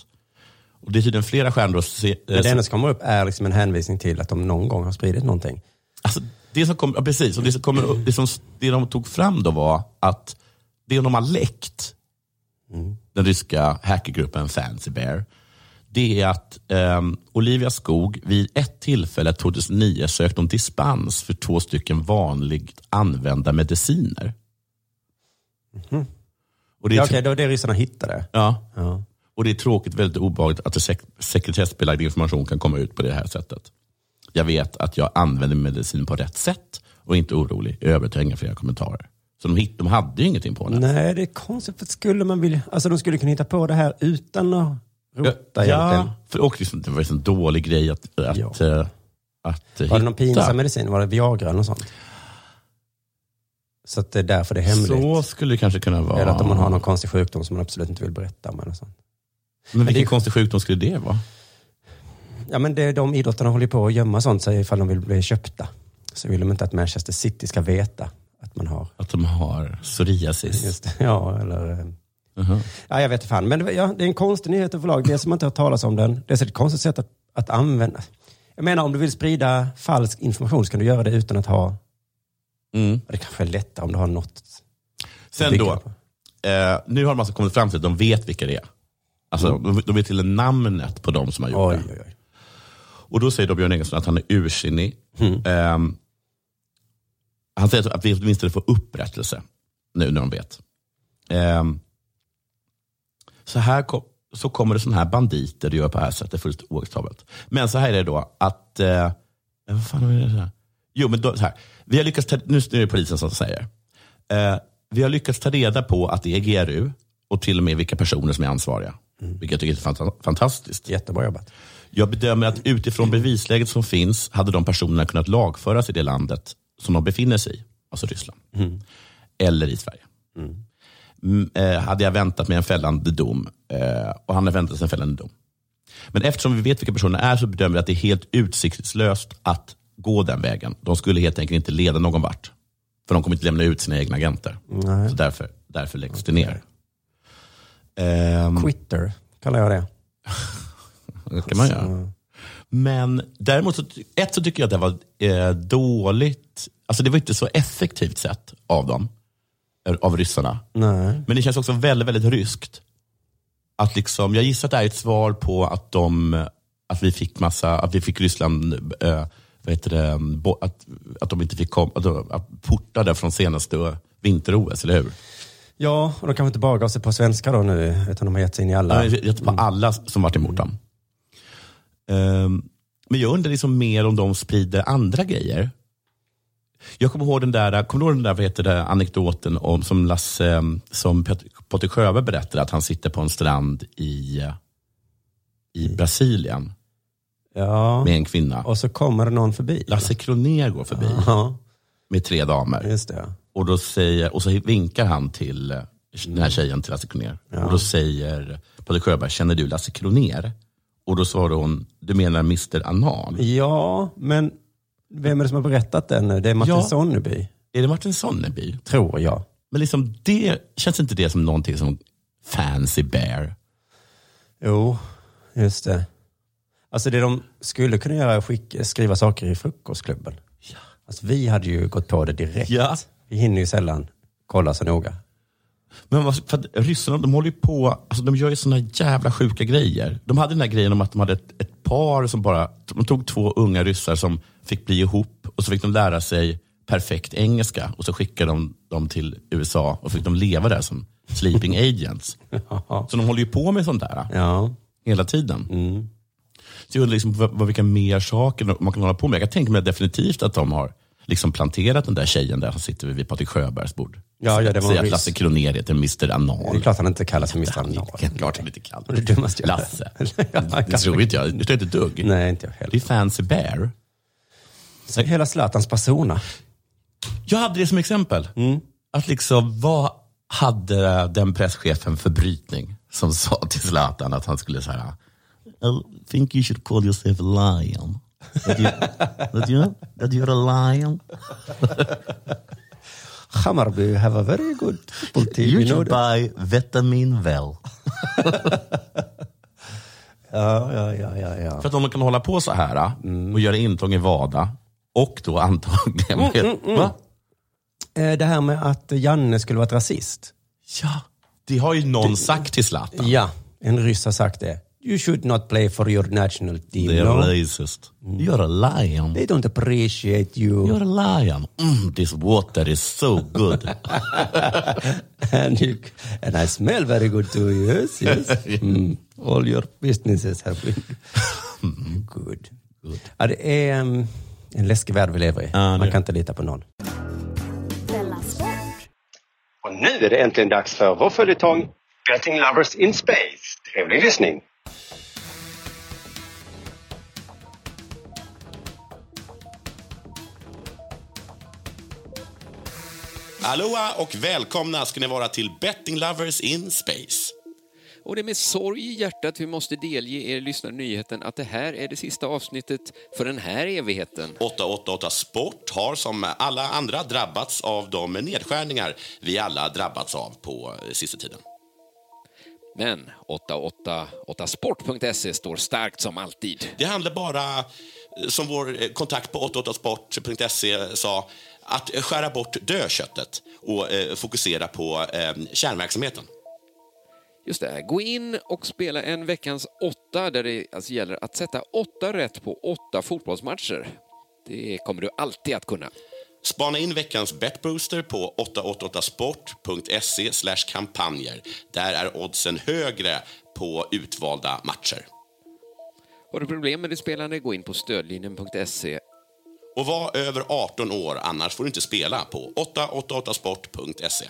[SPEAKER 3] Och det är tydligen flera stjärnor... Se, eh,
[SPEAKER 2] Men det enda som kommer upp är liksom en hänvisning till att de någon gång har spridit någonting.
[SPEAKER 3] Alltså, det som kom, ja, precis, och det som, kommer, upp- det, som det de tog fram då var att det de har läckt,
[SPEAKER 2] Mm.
[SPEAKER 3] den ryska hackergruppen Fancy Bear, det är att ehm, Olivia Skog vid ett tillfälle 2009 sökt om dispens för två stycken vanligt använda mediciner. Och det är
[SPEAKER 2] Mhm. Ja,
[SPEAKER 3] typ-
[SPEAKER 2] Okej, det var det ryssarna hittade.
[SPEAKER 3] Ja.
[SPEAKER 2] Ja.
[SPEAKER 3] Och det är tråkigt, väldigt obehagligt att det sek- sekretessbelagd information kan komma ut på det här sättet. Jag vet att jag använder medicin på rätt sätt Var inte orolig. I övrigt har jag inga fler kommentarer. Så de, hit, de hade ju ingenting på henne.
[SPEAKER 2] Nej, det är konstigt. För skulle man vilja... Alltså de skulle kunna hitta på det här utan att rota egentligen.
[SPEAKER 3] ja, för, och liksom, det var en sån dålig grej att, att,
[SPEAKER 2] Ja.
[SPEAKER 3] eh, att eh,
[SPEAKER 2] Var det någon
[SPEAKER 3] hitta.
[SPEAKER 2] pinsam medicin? Var det Viagra eller något sånt? Så att det är därför det är hemligt.
[SPEAKER 3] Så skulle det kanske kunna vara.
[SPEAKER 2] Eller att om man har någon konstig sjukdom som man absolut inte vill berätta om. Eller sånt.
[SPEAKER 3] Men vilken
[SPEAKER 2] det-
[SPEAKER 3] konstig sjukdom skulle det vara?
[SPEAKER 2] Ja, men det, är de idrottarna håller ju på att gömma sånt så ifall de vill bli köpta. Så vill de inte att Manchester City ska veta att man har.
[SPEAKER 3] Att de har psoriasis?
[SPEAKER 2] Just det. Ja, eller... eh,
[SPEAKER 3] Jaha.
[SPEAKER 2] Ja, jag vet inte fan. Men det, ja, det är en konstig nyhet överlag. Dels som man inte har hört talas om den. Dels är det ett konstigt sätt att, att använda. Jag menar, om du vill sprida falsk information så kan du göra det utan att ha...
[SPEAKER 3] Mm.
[SPEAKER 2] Det kanske är lättare om du har något...
[SPEAKER 3] Sen
[SPEAKER 2] Vilka?
[SPEAKER 3] då, eh, nu har de alltså kommit fram till att de vet vilka det är. Alltså, de, de vet till och med namnet på de som har gjort
[SPEAKER 2] Oj,
[SPEAKER 3] det.
[SPEAKER 2] oj, oj.
[SPEAKER 3] Och då säger då Björn Engelsson att han är ursinnig. Ehm, han säger att- att vi åtminstone får upprättelse nu när de vet. Ehm, så, här kom, så kommer det sådana här banditer och gör på det här sättet, det är fullständigt oacceptabelt. Men så här är det då att, eh, vad fan är det här? Jo men då, så här, vi har lyckats, ta, nu nu är det polisen som säger, eh, vi har lyckats ta reda på att det är GRU och till och med vilka personer som är ansvariga. Vilket jag tycker är fanta- fantastiskt.
[SPEAKER 2] Jättebra jobbat.
[SPEAKER 3] Jag bedömer att utifrån bevisläget som finns hade de personerna kunnat lagföras i det landet som de befinner sig i, alltså Ryssland, eller i Sverige. Mm, eh, hade jag väntat mig en fällande dom eh, och han har väntat sig en fällande dom. Men eftersom vi vet vilka personerna är så bedömer vi att det är helt utsiktslöst att gå den vägen. De skulle helt enkelt inte leda någon vart. För de kommer inte lämna ut sina egna agenter. Så därför, därför läggs det ner. Ehm,
[SPEAKER 2] Quitter kallar jag det.
[SPEAKER 3] Det kan man göra. Men däremot, så, ty- ett så tycker jag att det var eh, dåligt. Alltså det var inte så effektivt sett av dem. eh, Av ryssarna.
[SPEAKER 2] Nej.
[SPEAKER 3] Men det känns också väldigt, väldigt ryskt. Att liksom, jag gissar att det här är ett svar på att de, eh, att vi fick massa, att vi fick Ryssland, eh, vad heter det, bo, att, att de inte fick kom, att de, att portade från senaste vinter-OS, eller hur?
[SPEAKER 2] Ja, och de kanske inte bara gav sig på svenskar då nu, utan de har gett sig in i alla.
[SPEAKER 3] Jag vet
[SPEAKER 2] Mm.
[SPEAKER 3] på alla som varit emot dem. Ehm, men jag undrar liksom mer om de sprider andra grejer. Jag kommer ihåg den där, kommer du ihåg den där vad heter det, anekdoten om, som, Lasse, som Pet- Potter Sjöberg berättade, att han sitter på en strand i, i Brasilien
[SPEAKER 2] Ja,
[SPEAKER 3] med en kvinna.
[SPEAKER 2] och så kommer det någon förbi.
[SPEAKER 3] Lasse Kronér går förbi
[SPEAKER 2] Ja,
[SPEAKER 3] med tre damer.
[SPEAKER 2] just det.
[SPEAKER 3] Och, då säger, och så vinkar han till eh, den här tjejen, till Lasse Kronér. Och då säger Patrik Sjöberg, känner du Lasse Kronér? Och då svarar hon, du menar Mr Anal?
[SPEAKER 2] Ja, men vem är det som har berättat den nu? Det är Martin
[SPEAKER 3] Ja.
[SPEAKER 2] Sonneby,
[SPEAKER 3] Är det Martin Sonneby?
[SPEAKER 2] tror jag.
[SPEAKER 3] Men liksom det, känns inte det som någonting som fancy bear?
[SPEAKER 2] Jo, just det. Alltså det de skulle kunna göra är att skick- skriva saker i frukostklubben. Ja. Alltså vi hade ju gått på det direkt.
[SPEAKER 3] Ja.
[SPEAKER 2] Vi hinner ju sällan kolla så noga.
[SPEAKER 3] Men vad- för att ryssarna de håller ju på, alltså de gör ju såna jävla sjuka grejer. De hade den där grejen om att de hade ett, ett par som bara, de tog två unga ryssar som fick bli ihop och så fick de lära sig perfekt engelska och så skickade de dem till USA och fick de leva där som sleeping agents. Så de håller ju på med sånt där
[SPEAKER 2] Ja,
[SPEAKER 3] hela tiden.
[SPEAKER 2] Mm.
[SPEAKER 3] Så jag undrar liksom vad, vad, vilka mer saker de- man kan hålla på med. Jag kan tänka mig definitivt att de har liksom planterat den där tjejen där som sitter vid Patrik Sjöbergs bord.
[SPEAKER 2] Ja, ja, det var
[SPEAKER 3] Säger att
[SPEAKER 2] ryss.
[SPEAKER 3] Lasse Kronér heter Mr
[SPEAKER 2] det är
[SPEAKER 3] Anal.
[SPEAKER 2] klart han inte kallas för Mr. Anal.
[SPEAKER 3] Klart han inte kan.
[SPEAKER 2] Det är det dummaste jag har hört.
[SPEAKER 3] Lasse.
[SPEAKER 2] Ja,
[SPEAKER 3] Det
[SPEAKER 2] kanske.
[SPEAKER 3] tror inte jag. Det tror jag inte ett dugg.
[SPEAKER 2] Nej, inte jag
[SPEAKER 3] Det är
[SPEAKER 2] heller.
[SPEAKER 3] Fancy Bear.
[SPEAKER 2] Så hela Zlatans persona.
[SPEAKER 3] Jag hade det som exempel. Att liksom, vad hade den presschefen för brytning som sa till Zlatan att han skulle så här, I think you should call yourself a lion. That you, that you, that you're a lion.
[SPEAKER 2] Hammarby have a very good football team. You know that.
[SPEAKER 3] buy vitamin well.
[SPEAKER 2] Ja, ja, ja, ja, ja.
[SPEAKER 3] För att om man kan hålla på så här och göra intrång i Vada och då antagligen... Va?
[SPEAKER 2] Eh, Det här med att Janne skulle vara ett rasist.
[SPEAKER 3] Ja, det har ju någon sagt till Zlatan.
[SPEAKER 2] Ja, en ryss har sagt det. You should not play for your national team.
[SPEAKER 3] Det är
[SPEAKER 2] no?
[SPEAKER 3] racist. Mm. You're a lion.
[SPEAKER 2] They don't appreciate you
[SPEAKER 3] You're a lion. Mm, this water is so good.
[SPEAKER 2] and, you and I smell very good too. Yes, yes. Mm. All your businesses have been good. Ja, det är um, en läskig värld vi lever i. Man kan inte lita på någon.
[SPEAKER 7] Och nu är det äntligen dags för vår följetong Betting Lovers in Space. Trevlig lyssning!
[SPEAKER 3] Aloha och välkomna ska ni vara till Betting Lovers in Space.
[SPEAKER 8] Och det är med sorg i hjärtat vi måste delge er lyssnare nyheten att det här är det sista avsnittet för den här evigheten.
[SPEAKER 3] 888 Sport har som alla andra drabbats av de nedskärningar vi alla drabbats av på eh, sista tiden.
[SPEAKER 8] Men 888sport.se står starkt som alltid.
[SPEAKER 3] Det handlar bara, eh, som vår eh, kontakt på 888sport.se sa, att skära bort dödköttet och eh, fokusera på eh, kärnverksamheten.
[SPEAKER 8] Just det, gå in och spela en veckans åtta där det alltså gäller att sätta åtta rätt på åtta fotbollsmatcher. Det kommer du alltid att kunna.
[SPEAKER 3] Spana in veckans Betbooster på 888sport.se slash kampanjer. Där är oddsen högre på utvalda matcher.
[SPEAKER 8] Har du problem med ditt spelande, gå in på stödlinjen.se.
[SPEAKER 3] Och var över 18 år, annars får du inte spela på 888sport.se.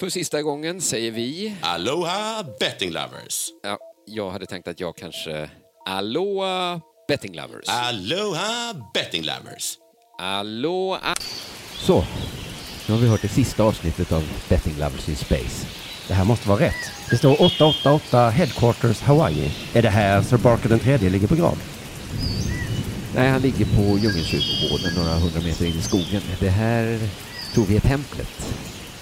[SPEAKER 8] För sista gången säger vi...
[SPEAKER 3] Aloha betting lovers!
[SPEAKER 8] Ja, jag hade tänkt att jag kanske... Aloha betting lovers.
[SPEAKER 3] Aloha betting lovers!
[SPEAKER 8] Aloha...
[SPEAKER 9] Så, nu har vi hört det sista avsnittet av Betting Lovers in Space.
[SPEAKER 2] Det här måste vara rätt. Det står 888 Headquarters Hawaii. Är det här Sir Barker den tredje ligger begravd?
[SPEAKER 9] Nej, han ligger på djungelkyrkogården några hundra meter in i skogen. Det här tror vi är templet.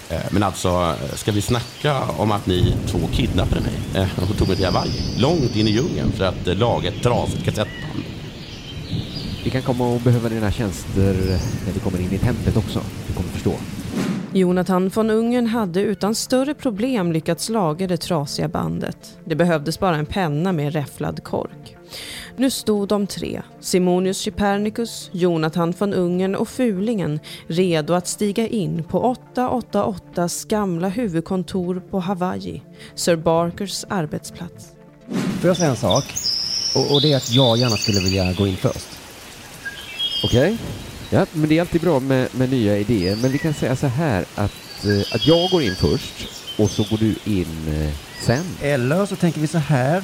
[SPEAKER 3] Eh, Men alltså, eh, ska vi snacka om att ni två kidnappade mig eh, och tog mig till Hawaii? Långt in i djungeln för att eh, laga ett trasigt kassettband.
[SPEAKER 9] Vi kan komma och behöva dina tjänster när vi kommer in i templet också. Du kommer förstå.
[SPEAKER 1] Jonathan von Ungern hade utan större problem lyckats laga det trasiga bandet. Det behövdes bara en penna med räfflad kork. Nu stod de tre, Simonius Cypernicus, Jonathan von Ungern och Fulingen, redo att stiga in på 888s gamla huvudkontor på Hawaii, Sir Barkers arbetsplats.
[SPEAKER 2] Får jag säga en sak? Och, och det är att jag gärna skulle vilja gå in först.
[SPEAKER 9] Okej? Ja, men det är alltid bra med, med nya idéer. Men vi kan säga så här att, eh, att jag går in först och så går du in eh, sen.
[SPEAKER 2] Eller så tänker vi så här.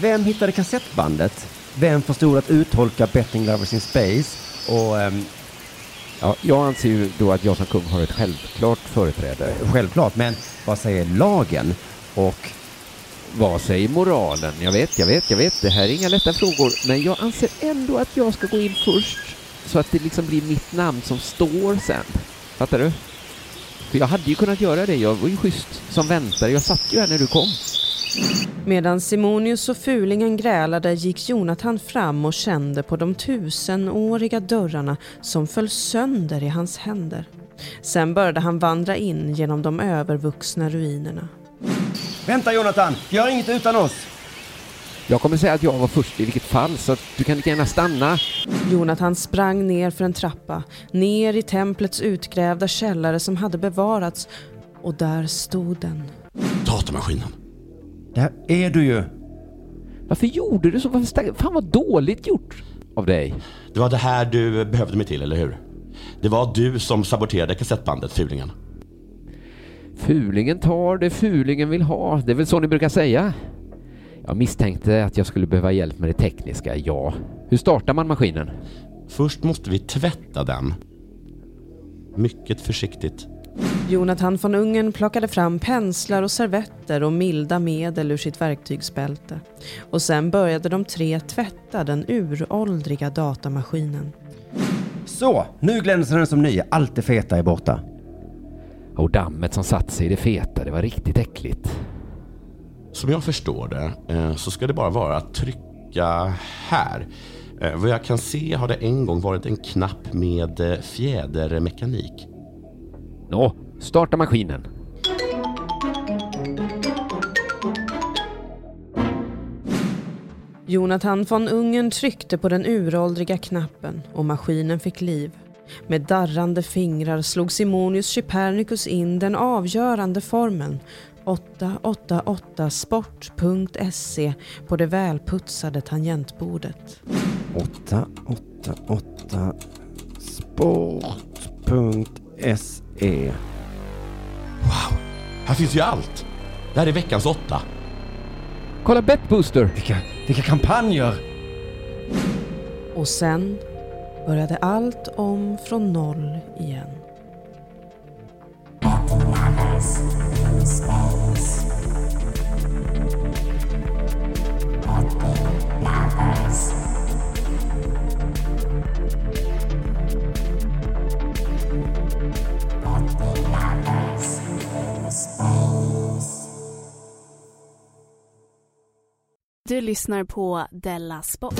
[SPEAKER 2] Vem hittade kassettbandet? Vem förstod att uttolka Betting Lovers in Space? Och ehm,
[SPEAKER 9] Ja, jag anser ju då att jag som kung har ett självklart företräde.
[SPEAKER 2] självklart, men vad säger lagen? Och
[SPEAKER 9] Vad säger moralen? Jag vet, jag vet, jag vet. Det här är inga lätta frågor. Men jag anser ändå att jag ska gå in först. Så att det liksom blir mitt namn som står sen. Fattar du? För jag hade ju kunnat göra det. Jag var ju schysst som väntare. Jag satt ju här när du kom.
[SPEAKER 1] Medan Simonius och Fulingen grälade gick Jonathan fram och kände på de tusenåriga dörrarna som föll sönder i hans händer. Sen började han vandra in genom de övervuxna ruinerna.
[SPEAKER 2] Vänta Jonathan! Gör inget utan oss!
[SPEAKER 9] Jag kommer säga att jag var först i vilket fall, så att du kan lika gärna stanna.
[SPEAKER 1] Jonathan sprang ner för en trappa, ner i templets utgrävda källare som hade bevarats och där stod den.
[SPEAKER 3] Datamaskinen.
[SPEAKER 2] Där är du ju!
[SPEAKER 9] Varför gjorde du så? Varför stack... Fan vad dåligt gjort av dig.
[SPEAKER 3] Det var det här du behövde mig till, eller hur? Det var du som saboterade kassettbandet, fulingen.
[SPEAKER 9] Fulingen tar det fulingen vill ha. Det är väl så ni brukar säga? Jag misstänkte att jag skulle behöva hjälp med det tekniska, ja. Hur startar man maskinen?
[SPEAKER 3] Först måste vi tvätta den. Mycket försiktigt.
[SPEAKER 1] Jonathan von Ungern plockade fram penslar och servetter och milda medel ur sitt verktygsbälte. Och sen började de tre tvätta den uråldriga datamaskinen.
[SPEAKER 2] Så! Nu glänser den som ny. Allt det feta är borta.
[SPEAKER 9] Och dammet som satt sig i det feta, det var riktigt äckligt.
[SPEAKER 3] Som jag förstår det eh, så ska det bara vara att trycka här. Eh, Vad jag kan se har det en gång varit en knapp med eh, fjädermekanik.
[SPEAKER 9] Nå, starta maskinen.
[SPEAKER 1] Jonathan von Ungern tryckte på den uråldriga knappen och maskinen fick liv. Med darrande fingrar slog Simonius Cypernicus in den avgörande formeln 888sport.se på det välputsade tangentbordet.
[SPEAKER 2] E. 888sport.se
[SPEAKER 10] Wow, här finns ju allt. Det här är veckans åtta.
[SPEAKER 11] Kolla Betbooster!
[SPEAKER 2] Vilka, vilka kampanjer!
[SPEAKER 12] Och sen började allt om från noll igen.
[SPEAKER 4] Du lyssnar på Della Sport.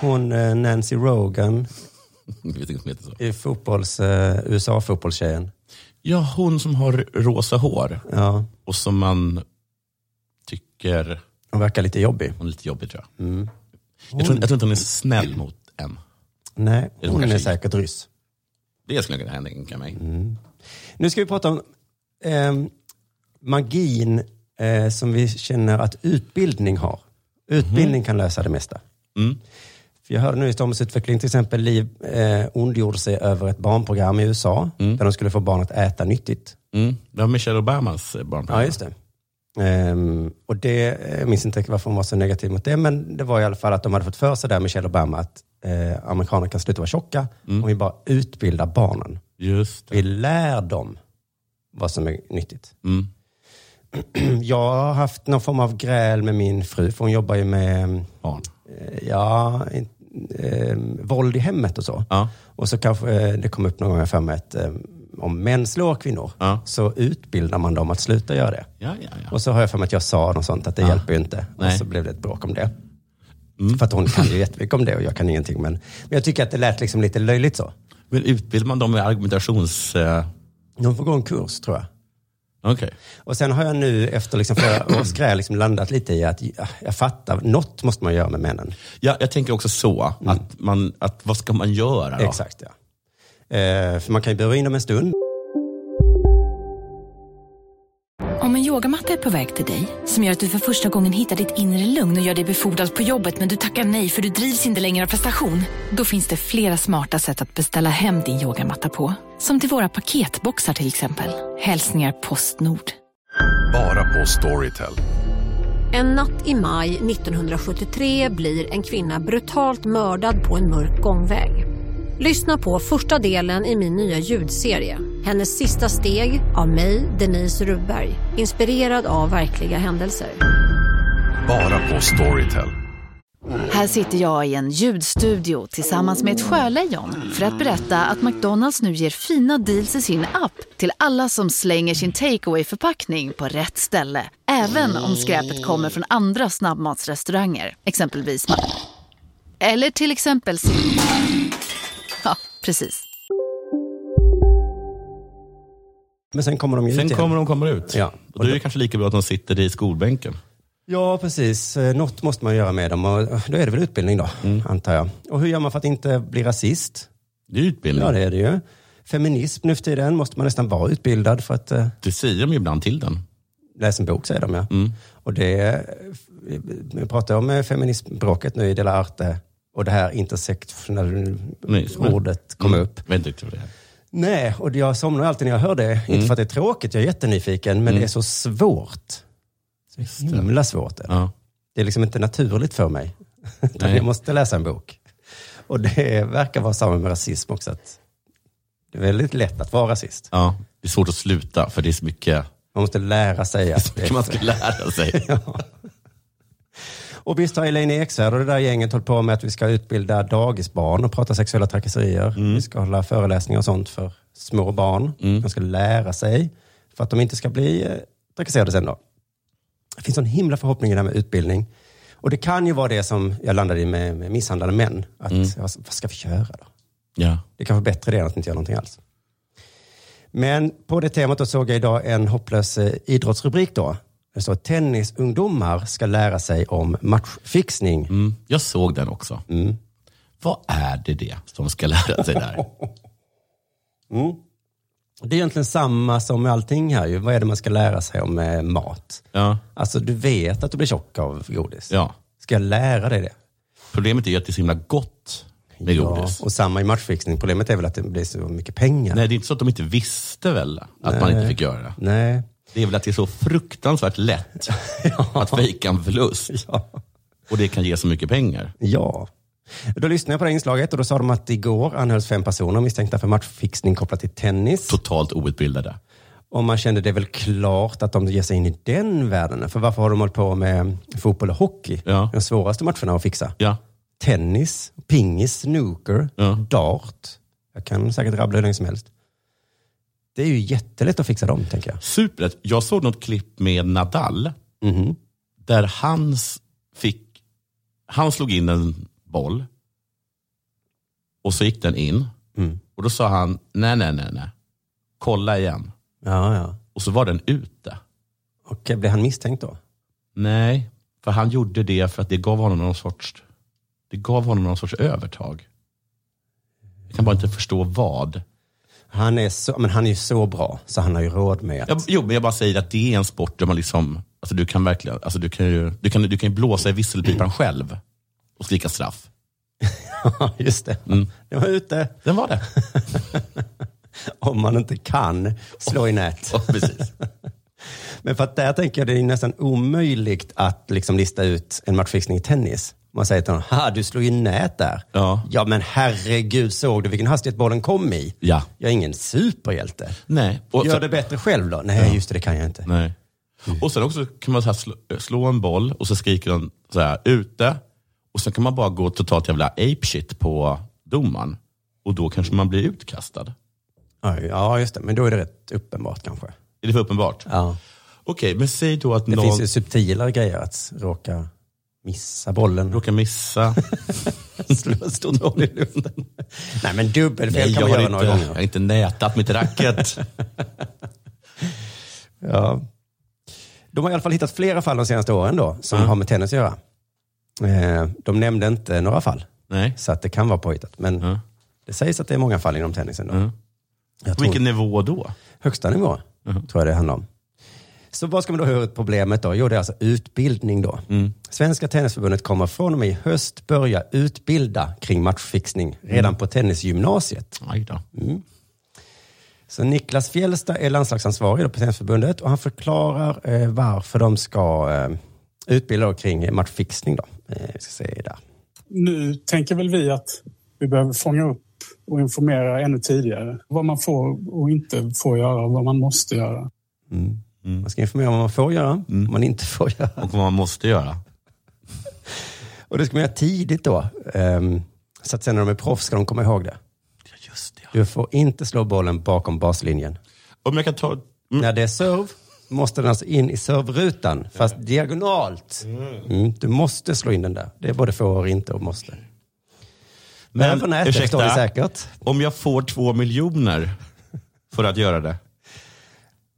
[SPEAKER 2] Hon eh, Nancy Rogan,
[SPEAKER 3] Jag vet inte om det heter så.
[SPEAKER 2] i fotbolls, eh, USA-fotbollstjejen.
[SPEAKER 3] Ja, hon som har rosa hår.
[SPEAKER 2] Ja.
[SPEAKER 3] Och som man tycker...
[SPEAKER 2] Hon verkar lite jobbig.
[SPEAKER 3] Hon är lite jobbig tror jag.
[SPEAKER 2] Mm.
[SPEAKER 3] Jag, tror, jag tror inte hon är snäll mot en.
[SPEAKER 2] Nej,
[SPEAKER 3] Eller
[SPEAKER 2] hon är
[SPEAKER 3] kanske-
[SPEAKER 2] säkert ryss. Mm.
[SPEAKER 3] Det skulle jag kunna tänka mig.
[SPEAKER 2] Nu ska vi prata om ehm, magin eh, som vi känner att utbildning har. Utbildning
[SPEAKER 3] Mhm.
[SPEAKER 2] kan lösa det mesta.
[SPEAKER 3] Mm.
[SPEAKER 2] För jag hörde nu i ståndsutveckling till exempel Liv eh, ondgjorde sig över ett barnprogram i USA där de skulle få barn att äta nyttigt.
[SPEAKER 3] Mm. Det var Michelle Obamas eh, barnprogram.
[SPEAKER 2] Ja, just det. Ehm, och det, jag minns inte riktigt varför hon var så negativ mot det, men det var i alla fall att de hade fått för sig där, Michelle Obama, att eh, amerikaner kan sluta vara tjocka om vi bara utbildar barnen.
[SPEAKER 3] Just
[SPEAKER 2] Vi lär dem vad som är nyttigt.
[SPEAKER 3] Mm.
[SPEAKER 2] Jag har haft någon form av gräl med min fru, för hon jobbar ju med
[SPEAKER 3] barn.
[SPEAKER 2] Ja, in- eh, våld i hemmet och så.
[SPEAKER 3] Ja.
[SPEAKER 2] Och så kanske eh, det kom upp någon gång här för mig att eh, om män slår kvinnor så utbildar man dem att sluta göra det.
[SPEAKER 3] Ja, ja, ja.
[SPEAKER 2] Och så har jag för mig att jag sa något sånt, att det hjälper ju inte.
[SPEAKER 3] Nej. Mm.
[SPEAKER 2] Och så blev det ett bråk om det. För att hon kan ju jättemycket om det och jag kan ingenting. Men, men jag tycker att det lät liksom lite löjligt så.
[SPEAKER 3] Men utbildar man dem i argumentations... eh,
[SPEAKER 2] De får gå en kurs tror jag.
[SPEAKER 3] Okej.
[SPEAKER 2] Och sen har jag nu efter liksom flera års gräl liksom landat lite i att ja, jag fattar, något måste man göra med männen.
[SPEAKER 3] Ja, jag tänker också så, att, man, att vad ska man göra då?
[SPEAKER 2] Mm. Exakt, ja. Eh, för man kan ju bura in dem en stund.
[SPEAKER 13] Om en yogamatta är på väg till dig, som gör att du för första gången hittar ditt inre lugn och gör dig befordrad på jobbet men du tackar nej för du drivs inte längre av prestation. Då finns det flera smarta sätt att beställa hem din yogamatta på. Som till våra paketboxar till exempel. Hälsningar Postnord.
[SPEAKER 6] Bara på Storytel.
[SPEAKER 14] En natt i maj 1973 blir en kvinna brutalt mördad på en mörk gångväg. Lyssna på första delen i min nya ljudserie. Hennes sista steg av mig, Denise Rubberg. Inspirerad av verkliga händelser.
[SPEAKER 6] Bara på Storytel.
[SPEAKER 15] Här sitter jag i en ljudstudio tillsammans med ett sjölejon för att berätta att McDonalds nu ger fina deals i sin app till alla som slänger sin takeaway förpackning på rätt ställe. Även om skräpet kommer från andra snabbmatsrestauranger, exempelvis Ma- Eller till exempel Sim- Ja, precis.
[SPEAKER 2] Men sen kommer de ju ut
[SPEAKER 3] Sen
[SPEAKER 2] igen.
[SPEAKER 3] kommer de kommer ut.
[SPEAKER 2] Ja.
[SPEAKER 3] Och då är det kanske lika bra att de sitter i skolbänken.
[SPEAKER 2] Ja, precis. Eh, Något måste man göra med dem och eh, då är det väl utbildning då,
[SPEAKER 3] Mm.
[SPEAKER 2] antar jag. Och hur gör man för att inte bli rasist?
[SPEAKER 3] Det är utbildning.
[SPEAKER 2] Ja, det är det ju. Feminism nu för tiden måste man nästan vara utbildad för att eh,
[SPEAKER 3] Det säger de ju ibland till den.
[SPEAKER 2] läsa en bok, säger de ja. Och det, eh, f- vi pratar om eh, feminismbråket nu i Dela Arte och det här intersektionella-ordet kom upp.
[SPEAKER 3] Jag vet inte vad det är.
[SPEAKER 2] Nej, och jag somnar alltid när jag hör det. Inte för att det är tråkigt, jag är jättenyfiken, men det är så svårt. Så
[SPEAKER 3] Mm.
[SPEAKER 2] himla svårt är det.
[SPEAKER 3] Ja.
[SPEAKER 2] Det är liksom inte naturligt för mig. Utan
[SPEAKER 3] Nej.
[SPEAKER 2] jag måste läsa en bok. Och det verkar vara samma med rasism också. Att det är väldigt lätt att vara rasist.
[SPEAKER 3] Ja, det är svårt att sluta för det är så mycket
[SPEAKER 2] Man måste lära sig att...
[SPEAKER 3] mycket man ska lära sig.
[SPEAKER 2] ja. Och visst har Elaine Eksvärd och det där gänget hållit på med att vi ska utbilda dagisbarn och prata sexuella trakasserier. Vi ska hålla föreläsningar och sånt för små barn. De ska lära sig för att de inte ska bli eh, trakasserade sen då. Det finns en himla förhoppning i det här med utbildning. Och det kan ju vara det som jag landade i med, med misshandlade män. Att, vad, vad ska vi göra då?
[SPEAKER 3] Ja.
[SPEAKER 2] Det är kanske bättre det än att inte göra någonting alls. Men på det temat då såg jag idag en hopplös eh, idrottsrubrik då. Det står tennisungdomar ska lära sig om matchfixning.
[SPEAKER 3] Mm. Jag såg den också. Vad är det det som ska lära sig där?
[SPEAKER 2] Mm. Det är egentligen samma som med allting här ju. Vad är det man ska lära sig om eh, mat?
[SPEAKER 3] Ja.
[SPEAKER 2] Alltså du vet att du blir tjock av godis.
[SPEAKER 3] Ja.
[SPEAKER 2] Ska jag lära dig det?
[SPEAKER 3] Problemet är ju att det är så himla gott. med godis.
[SPEAKER 2] och samma i matchfixning. Problemet är väl att det blir så mycket pengar.
[SPEAKER 3] Nej, det är inte så att de inte visste väl att man inte fick göra det.
[SPEAKER 2] Nej.
[SPEAKER 3] Det är väl att det är så fruktansvärt lätt att fejka en förlust. Och det kan ge så mycket pengar.
[SPEAKER 2] Ja. Då lyssnade jag på det inslaget och då sa de att igår anhölls fem personer misstänkta för matchfixning kopplat till tennis.
[SPEAKER 3] Totalt outbildade.
[SPEAKER 2] Och man kände det är väl klart att de ger sig in i den världen. För varför har de hållit på med fotboll och hockey? De svåraste matcherna att fixa.
[SPEAKER 3] Ja.
[SPEAKER 2] Tennis, pingis, snooker, dart. Jag kan säkert rabbla hur länge som helst. Det är ju jättelätt att fixa dem, tänker jag.
[SPEAKER 3] Superlätt. Jag såg något klipp med Nadal.
[SPEAKER 2] Mhm.
[SPEAKER 3] Där hans fick, han slog in en boll. Och så gick den in.
[SPEAKER 2] Mm.
[SPEAKER 3] Och då sa han, nej, nej, nej, nej. Kolla igen.
[SPEAKER 2] Ja, ja.
[SPEAKER 3] Och så var den ute.
[SPEAKER 2] Okej, blev han misstänkt då?
[SPEAKER 3] Nej, för han gjorde det för att det gav honom någon sorts, det gav honom någon sorts övertag. Jag kan bara inte förstå vad.
[SPEAKER 2] Han är, så, men han är ju så bra, så han har ju råd med att...
[SPEAKER 3] Jag, jo, men jag bara säger att det är en sport där man liksom, alltså du kan verkligen, alltså du kan ju, du kan, du kan ju blåsa i visselpipan själv och skrika straff. Mm.
[SPEAKER 2] Ja, just det. Den var ute.
[SPEAKER 3] Den var det.
[SPEAKER 2] Om man inte kan slå i
[SPEAKER 3] Oh,
[SPEAKER 2] nät.
[SPEAKER 3] precis.
[SPEAKER 2] Men för att där tänker jag det är nästan omöjligt att liksom lista ut en matchfixning i tennis. Man säger till honom, ha du slog i nät där.
[SPEAKER 3] Ja.
[SPEAKER 2] ja men herregud, såg du vilken hastighet bollen kom i?
[SPEAKER 3] Ja.
[SPEAKER 2] Jag är ingen superhjälte.
[SPEAKER 3] Nej.
[SPEAKER 2] Gör det bättre själv då? Nej,
[SPEAKER 3] Ja.
[SPEAKER 2] just det, det kan jag inte.
[SPEAKER 3] Nej.
[SPEAKER 2] Mm.
[SPEAKER 3] Och sen också kan man så här slå, eh, slå en boll och så skriker den så här ute. Och sen kan man bara gå totalt jävla apeshit på domaren. Och då kanske man blir utkastad.
[SPEAKER 2] Oj, Ja, just det. Men då är det rätt uppenbart kanske.
[SPEAKER 3] Är det för uppenbart?
[SPEAKER 2] Ja.
[SPEAKER 3] Okej, men säg då att
[SPEAKER 2] Det
[SPEAKER 3] någon...
[SPEAKER 2] finns ju subtilare grejer att råka missa bollen.
[SPEAKER 3] Råka missa.
[SPEAKER 2] Slå stort hål i luften. Nej, men dubbelfel
[SPEAKER 3] Nej,
[SPEAKER 2] kan man
[SPEAKER 3] jag har
[SPEAKER 2] göra
[SPEAKER 3] inte,
[SPEAKER 2] några
[SPEAKER 3] jag har
[SPEAKER 2] gånger.
[SPEAKER 3] inte nätat mitt racket.
[SPEAKER 2] Ja. De har i alla fall hittat flera fall de senaste åren då, som har med tennis att göra. Eh, De nämnde inte några fall.
[SPEAKER 3] Nej.
[SPEAKER 2] Så att det kan vara påhittat. Men det sägs att det är många fall inom tennisen. Då. Jag
[SPEAKER 3] På
[SPEAKER 2] tror-
[SPEAKER 3] vilken nivå då?
[SPEAKER 2] Högsta nivå, tror jag det handlar om. Så vad ska man då höra ut problemet då? Jo, det är alltså utbildning då. Svenska Tennisförbundet kommer från och med i höst börja utbilda kring matchfixning redan på tennisgymnasiet.
[SPEAKER 3] Aj då.
[SPEAKER 2] Så Niklas Fjällsta är landslagsansvarig då på Tennisförbundet och han förklarar eh, varför de ska eh, utbilda då kring matchfixning. Då. Eh, vi ska se där.
[SPEAKER 16] Nu tänker väl vi att vi behöver fånga upp och informera ännu tidigare vad man får och inte får göra och vad man måste göra.
[SPEAKER 2] Mm. Man ska informera om vad man får göra, vad man inte får göra.
[SPEAKER 3] Och vad man måste göra.
[SPEAKER 2] Och det ska man göra tidigt då. ehm, så att sen när de är proffs ska de komma ihåg det. Du får inte slå bollen bakom baslinjen.
[SPEAKER 3] Om jag kan ta...
[SPEAKER 2] När det är serve måste den alltså in i serverutan, fast diagonalt. Mm, du måste slå in den där. Det är både får och inte och måste. Men, på nätet står det säkert.
[SPEAKER 3] Om jag får två miljoner för att göra det,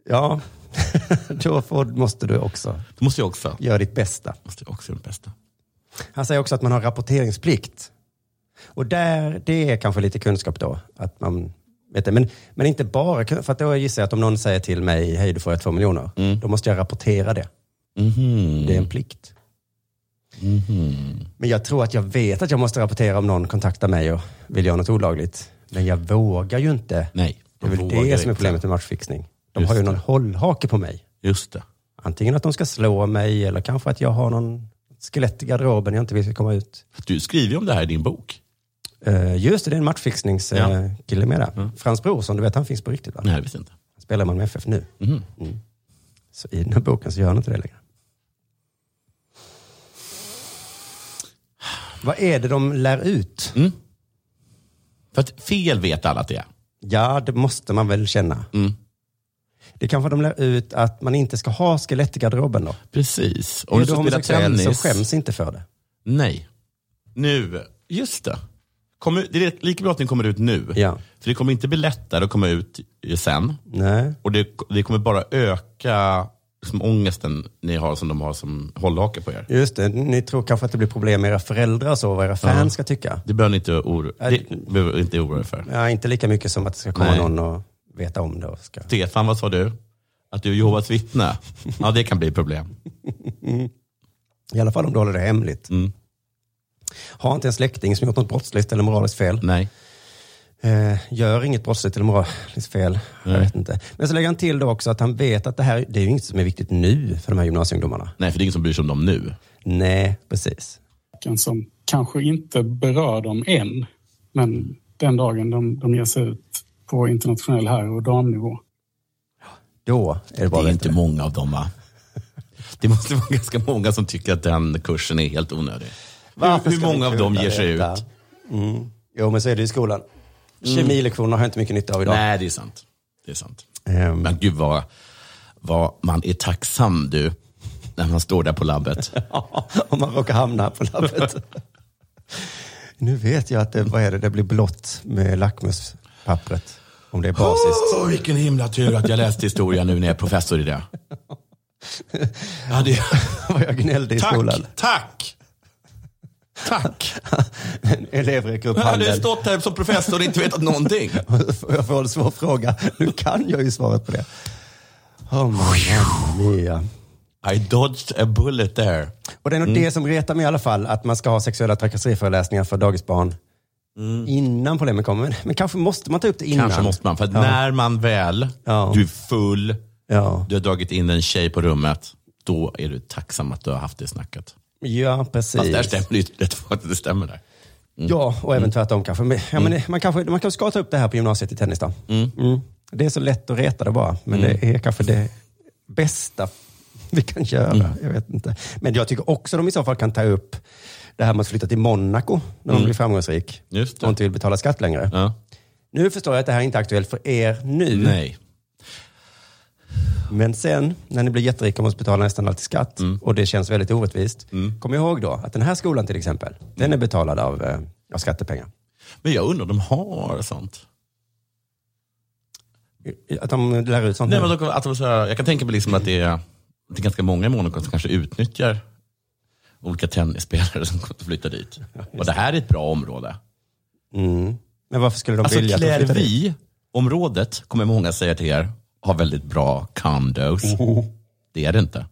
[SPEAKER 2] Ja, då får, måste du också
[SPEAKER 3] då måste jag också.
[SPEAKER 2] göra ditt bästa.
[SPEAKER 3] Måste jag också göra det bästa.
[SPEAKER 2] Han säger också att man har rapporteringsplikt. Och där, det är kanske lite kunskap då. Att man, vet det. Men, men inte bara, kun- för att då gissar jag att om någon säger till mig, hej du får två miljoner,
[SPEAKER 3] Mm.
[SPEAKER 2] då måste jag rapportera det.
[SPEAKER 3] Mm-hmm.
[SPEAKER 2] Det är en plikt. Men jag tror att jag vet att jag måste rapportera om någon kontaktar mig och vill göra något olagligt. Men jag vågar ju inte.
[SPEAKER 3] Nej,
[SPEAKER 2] det är
[SPEAKER 3] de
[SPEAKER 2] väl
[SPEAKER 3] vågar
[SPEAKER 2] det som är
[SPEAKER 3] inte.
[SPEAKER 2] problemet med matchfixning. De
[SPEAKER 3] Just
[SPEAKER 2] har ju någon
[SPEAKER 3] det.
[SPEAKER 2] hållhake på mig.
[SPEAKER 3] Just det.
[SPEAKER 2] Antingen att de ska slå mig eller kanske att jag har någon skelett i garderoben jag inte vill ska komma ut.
[SPEAKER 3] Du skriver ju om det här i din bok.
[SPEAKER 2] Eh, just det, det är en matchfixningskille
[SPEAKER 3] Ja.
[SPEAKER 2] kille med där. Frans Brorsson, du vet han finns på riktigt va?
[SPEAKER 3] Nej, jag visste inte. Mm-hmm.
[SPEAKER 2] Han spelar man med FF nu. Mm. Så i den här boken så gör han inte det längre. Vad är det de lär ut?
[SPEAKER 3] Mm. För att fel vet alla att det är.
[SPEAKER 2] Ja, det måste man väl känna.
[SPEAKER 3] Mm.
[SPEAKER 2] Det är kanske de lär ut att man inte ska ha skelett i garderoben då.
[SPEAKER 3] Precis.
[SPEAKER 2] Om
[SPEAKER 3] Om
[SPEAKER 2] är
[SPEAKER 3] du
[SPEAKER 2] du
[SPEAKER 3] ska spela
[SPEAKER 2] homosexuell så
[SPEAKER 3] tennis.
[SPEAKER 2] skäms inte för det.
[SPEAKER 3] Nej. Nu, just det. Kommer, det är lika bra att den kommer ut nu.
[SPEAKER 2] Ja.
[SPEAKER 3] För det kommer inte bli lättare att komma ut i- sen.
[SPEAKER 2] Nej.
[SPEAKER 3] Och det, det kommer bara öka liksom, ångesten ni har som de har som hållhake på er.
[SPEAKER 2] Just det, ni tror kanske att det blir problem med era föräldrar och så, vad era fans
[SPEAKER 3] Ja.
[SPEAKER 2] ska tycka.
[SPEAKER 3] Det behöver ni inte oro, det behöver ni inte oroa er för.
[SPEAKER 2] Ja, inte lika mycket som att det ska komma
[SPEAKER 3] Nej.
[SPEAKER 2] någon och veta om det. Och ska...
[SPEAKER 3] Stefan, vad sa du? Att du är Jehovas vittne? Ja, det kan bli problem. Mm.
[SPEAKER 2] I alla fall om du håller det hemligt. Har inte en släkting som gjort något brottsligt eller moraliskt fel.
[SPEAKER 3] Nej.
[SPEAKER 2] Eh, gör inget brottsligt eller moraliskt fel. Jag vet inte. Men så lägger han till då också att han vet att det här det är ju inget som är viktigt nu för de här gymnasieungdomarna.
[SPEAKER 3] Nej, för det är ingen som bryr sig om dem nu.
[SPEAKER 2] Nej, precis.
[SPEAKER 16] Som kanske inte berör dem än, men den dagen de, de ger sig ut på internationell herr och damnivå.
[SPEAKER 2] Då är det
[SPEAKER 3] bara Det är inte många av dem va? Det måste vara ganska många som tycker att den kursen är helt onödig.
[SPEAKER 2] Varför
[SPEAKER 3] Hur
[SPEAKER 2] ska
[SPEAKER 3] många
[SPEAKER 2] man
[SPEAKER 3] av dem
[SPEAKER 2] kunna
[SPEAKER 3] ger sig ut? Mm.
[SPEAKER 2] detta? Mm. Jo, men så är det i skolan. Kemilektioner har jag inte mycket nytta av idag. Ehm.
[SPEAKER 3] Nej, det är sant. Det är sant. Men gud vad, vad man är tacksam du, när man står där på labbet.
[SPEAKER 2] Om man råkar hamna på labbet. nu vet jag att det, vad är det, det blir blått med lackmuspappret. Om det är basiskt.
[SPEAKER 3] Åh, vilken himla tur att jag läste historia nu när jag är professor i det. Ja, det...
[SPEAKER 2] vad jag gnällde i
[SPEAKER 3] Tack,
[SPEAKER 2] skolan.
[SPEAKER 3] Tack! Tack!
[SPEAKER 2] en elev räcker upp
[SPEAKER 3] Jag hade
[SPEAKER 2] handen.
[SPEAKER 3] ju stått här som professor och inte vetat någonting.
[SPEAKER 2] jag får en svår fråga. Nu kan jag ju svaret på det. Oh my mia.
[SPEAKER 3] I dodged a bullet there.
[SPEAKER 2] Och det är nog
[SPEAKER 3] Mm.
[SPEAKER 2] det som retar mig i alla fall, att man ska ha sexuella trakasseriföreläsningar för dagisbarn innan problemen kommer. Men, men kanske måste man ta upp det innan.
[SPEAKER 3] Mm. Kanske måste man, för att
[SPEAKER 2] Ja.
[SPEAKER 3] när man väl,
[SPEAKER 2] Ja.
[SPEAKER 3] du är full,
[SPEAKER 2] Ja.
[SPEAKER 3] du har dragit in en tjej på rummet, då är du tacksam att du har haft det snacket.
[SPEAKER 2] Ja, precis.
[SPEAKER 3] Fast där stämmer det ju rätt för att det stämmer där. Mm.
[SPEAKER 2] Ja, och även tvärtom kanske. Men, ja, men, man kanske. Man kanske ska ta upp det här på gymnasiet i tennis då. Mm. Det är så lätt att reta det bara, men
[SPEAKER 3] Mm.
[SPEAKER 2] det är kanske det bästa vi kan göra.
[SPEAKER 3] Mm.
[SPEAKER 2] Jag vet inte. Men jag tycker också de i så fall kan ta upp det här med att flytta till Monaco när de
[SPEAKER 3] Mm.
[SPEAKER 2] blir framgångsrik
[SPEAKER 3] Just det.
[SPEAKER 2] och inte vill betala skatt längre.
[SPEAKER 3] Ja.
[SPEAKER 2] Nu förstår jag att det här är inte är aktuellt för er nu.
[SPEAKER 3] Nej.
[SPEAKER 2] Men sen, när ni blir jätterika och måste betala nästan alltid skatt
[SPEAKER 3] Mm.
[SPEAKER 2] och det känns väldigt orättvist. Kom ihåg då att den här skolan till exempel, den är betalad av, eh, av skattepengar.
[SPEAKER 3] Men jag undrar om de har sånt.
[SPEAKER 2] Att de lär ut sånt
[SPEAKER 3] Nej,
[SPEAKER 2] nu.
[SPEAKER 3] men de, kommer- att de, så här, jag kan tänka mig liksom att det är, det är ganska många i Monaco som kanske utnyttjar olika tennisspelare som kommer att flytta dit. Och det här är ett bra område.
[SPEAKER 2] Mm. Men varför skulle de
[SPEAKER 3] alltså
[SPEAKER 2] vilja att de flyttar dit?
[SPEAKER 3] Klärvi-området kommer många säga till er har väldigt bra condos. Det är det inte.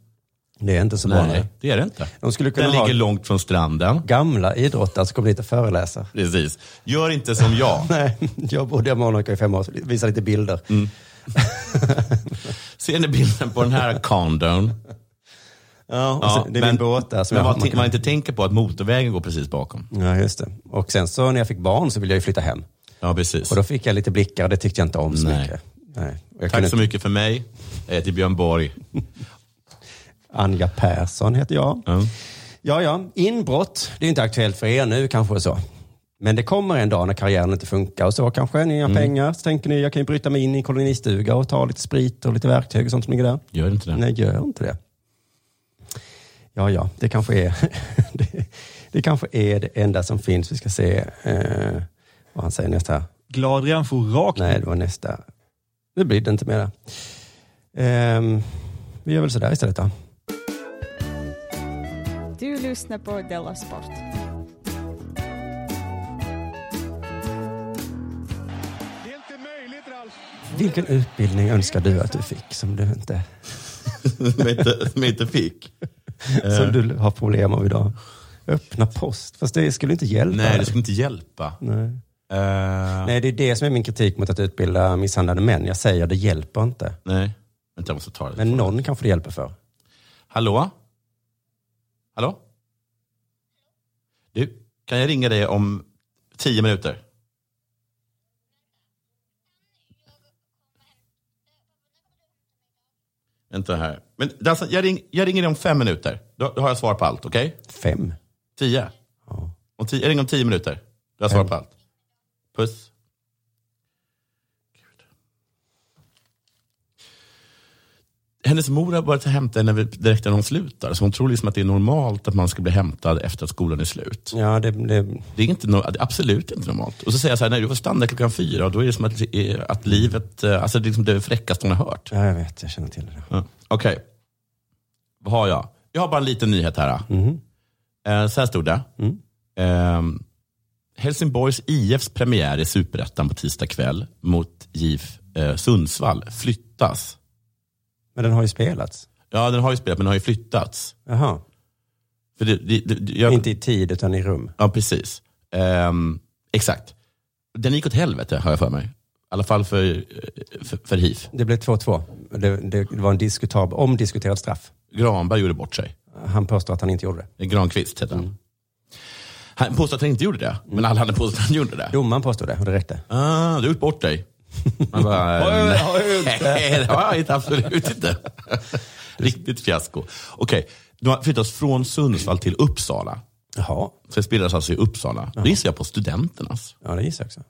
[SPEAKER 2] Det är inte så bra.
[SPEAKER 3] Nej,
[SPEAKER 2] Oh. Nej.
[SPEAKER 3] det är det inte.
[SPEAKER 2] De skulle kunna
[SPEAKER 3] Den
[SPEAKER 2] ha
[SPEAKER 3] ligger långt från stranden.
[SPEAKER 2] gamla idrottare som kommer dit och föreläser.
[SPEAKER 3] Precis. Gör inte som jag.
[SPEAKER 2] Nej, jag bodde i Monaco i fem år, så visa lite bilder.
[SPEAKER 3] Mm. Ser ni bilden på den här condon?
[SPEAKER 2] Ja, och sen- Alltså, det är min båt där som
[SPEAKER 3] men
[SPEAKER 2] jag-
[SPEAKER 3] vad t- man inte tänker på att motorvägen går precis bakom.
[SPEAKER 2] Ja, just det. Och sen så när jag fick barn så ville jag ju flytta hem.
[SPEAKER 3] Ja, precis.
[SPEAKER 2] Och då fick jag lite blickar och det tyckte jag inte om så
[SPEAKER 3] Nej.
[SPEAKER 2] mycket. Nej. Och jag
[SPEAKER 3] Tack
[SPEAKER 2] kunde
[SPEAKER 3] så
[SPEAKER 2] inte-
[SPEAKER 3] mycket för mig. Jag heter Björn Borg.
[SPEAKER 2] Anja Persson heter jag.
[SPEAKER 3] Mm.
[SPEAKER 2] Ja, ja. Inbrott, det är inte aktuellt för er nu kanske så. Men det kommer en dag när karriären inte funkar och så kanske. Ni har pengar, så tänker ni jag kan ju bryta mig in i en kolonistuga och ta lite sprit och lite verktyg och sånt som ligger där.
[SPEAKER 3] Gör inte det.
[SPEAKER 2] Nej, gör inte det. Ja, ja, det kanske är det, det, kanske är det enda som finns. Vi ska se eh, vad han säger nästa.
[SPEAKER 17] Glad redan for rakt.
[SPEAKER 2] Nej, det var nästa. Nu blir det inte mer. där. Ehm, vi gör väl sådär istället då.
[SPEAKER 18] Du lyssnar på Della Sport.
[SPEAKER 2] Vilken utbildning önskar du att du fick som du inte,
[SPEAKER 3] som, jag inte, som jag inte fick. Eh.
[SPEAKER 2] som du har problem av idag? Öppna post. Fast det skulle inte hjälpa.
[SPEAKER 3] Nej, det
[SPEAKER 2] dig.
[SPEAKER 3] skulle inte hjälpa.
[SPEAKER 2] Nej.
[SPEAKER 3] Eh,
[SPEAKER 2] Nej, det är det som är min kritik mot att utbilda misshandlade män. Jag säger det hjälper inte.
[SPEAKER 3] Nej. Vänta, jag måste ta det.
[SPEAKER 2] Men någon kanske det hjälper för.
[SPEAKER 3] Hallå? Hallå? Du, kan jag ringa dig om tio minuter? Vänta här. Men alltså, jag, ring, jag ringer dig om fem minuter. Då, då har jag svar på allt, okej?
[SPEAKER 2] Fem?
[SPEAKER 3] Tio? Om tio, jag ringer om tio minuter. Då har jag svar på allt. Puss. Hennes mor har börjat hämta henne vid- direkt när hon slutar. Så hon tror liksom att det är normalt att man ska bli hämtad efter att skolan är slut.
[SPEAKER 2] Ja, det, det...
[SPEAKER 3] är inte no, det är absolut inte normalt. Och så säger jag så här, nej du får stanna klockan fyra. Och då är det som att, eh, att livet, eh, alltså det är liksom det fräckaste hon har hört.
[SPEAKER 2] Ja, jag vet. Jag känner till det.
[SPEAKER 3] Ja. Okej, vad har jag? Jag har bara en liten nyhet här.
[SPEAKER 2] Mhm.
[SPEAKER 3] Eh, Så här stod det.
[SPEAKER 2] Mm.
[SPEAKER 3] Ehm, Helsingborgs IFs premiär i Superettan på tisdag kväll mot GIF eh, Sundsvall flyttas.
[SPEAKER 2] Men den har ju spelats.
[SPEAKER 3] Ja, den har ju spelat men den har ju flyttats.
[SPEAKER 2] Jaha.
[SPEAKER 3] För det, det, det, jag...
[SPEAKER 2] Inte i tid utan i rum.
[SPEAKER 3] Ja, precis. Ehm, exakt. Den gick åt helvete har jag för mig. I alla fall för, eh, för, för HIF.
[SPEAKER 2] Det blev 2-2. Det, det var en diskutab- omdiskuterad straff.
[SPEAKER 3] Granberg gjorde bort sig.
[SPEAKER 2] Han påstår att han inte gjorde
[SPEAKER 3] det. Granqvist hette han.
[SPEAKER 2] Mm.
[SPEAKER 3] Han påstod att han inte gjorde det, men alla hade påstått att han gjorde det.
[SPEAKER 2] Domaren påstod det och det räckte.
[SPEAKER 3] Ah, du har gjort bort dig. Man bara,
[SPEAKER 2] Har jag- har jag
[SPEAKER 3] nej,
[SPEAKER 2] gjort det?
[SPEAKER 3] det har jag inte, absolut inte. Riktigt fiasko. Okej, de har flyttats från Sundsvall till Uppsala.
[SPEAKER 2] Jaha.
[SPEAKER 3] Så det spelades alltså i Uppsala. Då gissar jag på Studenternas.
[SPEAKER 2] Ja, det gissar jag också.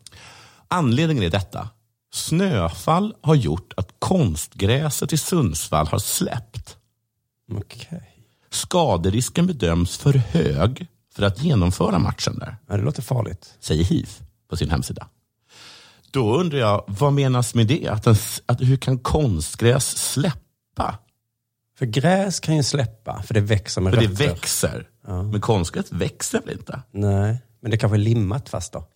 [SPEAKER 3] Anledningen är detta. Snöfall har gjort att konstgräset i Sundsvall har släppt.
[SPEAKER 2] Okej.
[SPEAKER 3] Skaderisken bedöms för hög för att genomföra matchen där.
[SPEAKER 2] Ja, det låter farligt.
[SPEAKER 3] Säger HIF på sin hemsida. Då undrar jag, vad menas med det? Att en, s- att hur kan konstgräs släppa?
[SPEAKER 2] För gräs kan ju släppa, för det växer med
[SPEAKER 3] För det
[SPEAKER 2] rötter.
[SPEAKER 3] växer. Men konstgräs växer väl inte?
[SPEAKER 2] Nej, men det kanske är limmat fast då.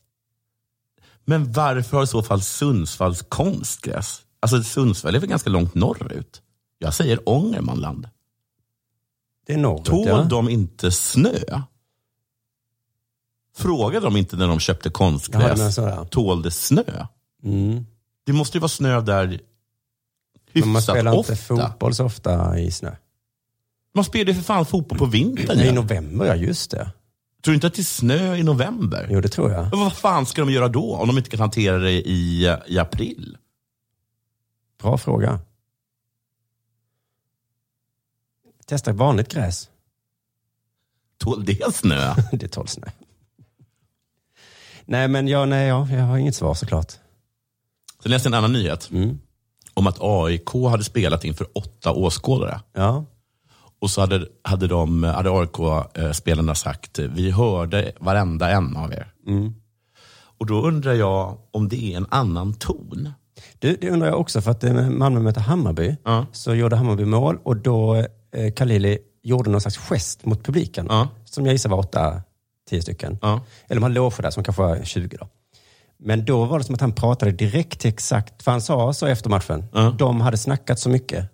[SPEAKER 3] Men varför har i så fall Sundsvalls konstgräs? Alltså Sundsvall är väl ganska långt norrut? Jag säger Ångermanland.
[SPEAKER 2] Det är norrut,
[SPEAKER 3] Tål
[SPEAKER 2] ja.
[SPEAKER 3] de inte snö? Frågade de inte när de köpte
[SPEAKER 2] Jaha, alltså- det menar
[SPEAKER 3] konstgräs,
[SPEAKER 2] så, ja.
[SPEAKER 3] tål det snö?
[SPEAKER 2] Mm.
[SPEAKER 3] Det måste ju vara snö där
[SPEAKER 2] Men man
[SPEAKER 3] hyfsat
[SPEAKER 2] spelar
[SPEAKER 3] ofta.
[SPEAKER 2] inte fotboll så ofta i snö.
[SPEAKER 3] Man spelar ju för fan fotboll på vintern.
[SPEAKER 2] Nej,
[SPEAKER 3] ja.
[SPEAKER 2] I november, ja just det.
[SPEAKER 3] Tror du inte att det är snö i november?
[SPEAKER 2] Jo, det tror jag.
[SPEAKER 3] Men vad fan ska de göra då om de inte kan hantera det i, i april?
[SPEAKER 2] Bra fråga. Testa vanligt gräs.
[SPEAKER 3] Tål det snö?
[SPEAKER 2] det tål snö. Nej, men ja, nej, ja, jag har inget svar såklart. Mm.
[SPEAKER 3] Sen läste jag en annan nyhet. Om att AIK hade spelat inför åtta åskådare.
[SPEAKER 2] Ja.
[SPEAKER 3] Och så hade, hade, de- hade AIK-spelarna eh, sagt, vi hörde varenda en av er.
[SPEAKER 2] mm.
[SPEAKER 3] Och då undrar jag om det är en annan ton.
[SPEAKER 2] Du, det undrar jag också, för att eh, Malmö mötte Hammarby, så gjorde Hammarby mål och då eh, Kalili gjorde någon slags gest mot publiken, som jag gissar var åtta, tio stycken. Eller de hade loger där som kanske var 20 då. Men då var det som att han pratade direkt till exakt, för han sa så efter matchen, de hade snackat så mycket.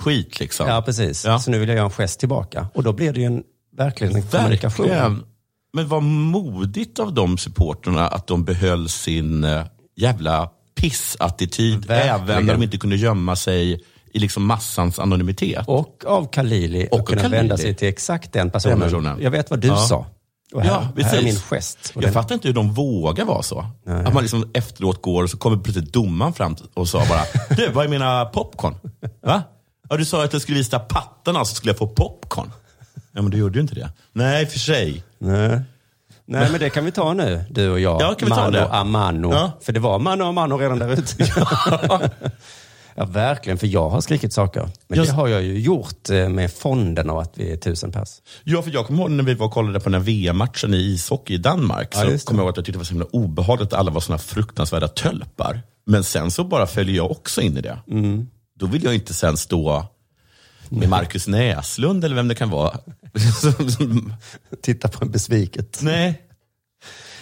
[SPEAKER 3] Skit liksom.
[SPEAKER 2] Ja, precis. Så nu vill jag göra en gest tillbaka. Och då blir det ju en, verkligen en kommunikation.
[SPEAKER 3] Verkligen. Men vad modigt av de supporterna att de behöll sin eh, jävla pissattityd
[SPEAKER 2] Verkligen.
[SPEAKER 3] även när de inte kunde gömma sig i liksom massans anonymitet.
[SPEAKER 2] Och av Kalili
[SPEAKER 3] Och
[SPEAKER 2] att kunna
[SPEAKER 3] Kalili.
[SPEAKER 2] vända sig till exakt den personen.
[SPEAKER 3] Den personen.
[SPEAKER 2] Jag vet vad du
[SPEAKER 3] Ja.
[SPEAKER 2] sa. Och här, här är min gest. Och
[SPEAKER 3] Jag
[SPEAKER 2] den-
[SPEAKER 3] fattar inte hur de vågar vara så. Att man liksom efteråt går och så kommer plötsligt domaren fram och sa bara, du, vad är mina popcorn? Va? Ja, du sa att jag skulle visa pattarna så skulle jag få popcorn. Ja, men du gjorde ju inte det. Nej, för sig.
[SPEAKER 2] Nej. Nej, men det kan vi ta nu, du och jag.
[SPEAKER 3] Ja, kan vi ta
[SPEAKER 2] mano
[SPEAKER 3] det?
[SPEAKER 2] a mano.
[SPEAKER 3] Ja.
[SPEAKER 2] För det var mano a mano redan där ute. ja, verkligen. För jag har skrikit saker. Men
[SPEAKER 3] Just-
[SPEAKER 2] det har jag ju gjort eh, med fonden av att vi är tusen pers.
[SPEAKER 3] Ja, för jag kommer ihåg när vi var och kollade på den här VM-matchen i ishockey i Danmark.
[SPEAKER 2] Ja,
[SPEAKER 3] så
[SPEAKER 2] just det.
[SPEAKER 3] kommer jag ihåg att jag tyckte det var så himla obehagligt att alla var såna fruktansvärda tölpar. Men sen så bara följer jag också in i det.
[SPEAKER 2] Mm.
[SPEAKER 3] Då vill jag inte sen stå med Markus Näslund eller vem det kan vara. Som- som-
[SPEAKER 2] Titta på en besviket.
[SPEAKER 3] Nej.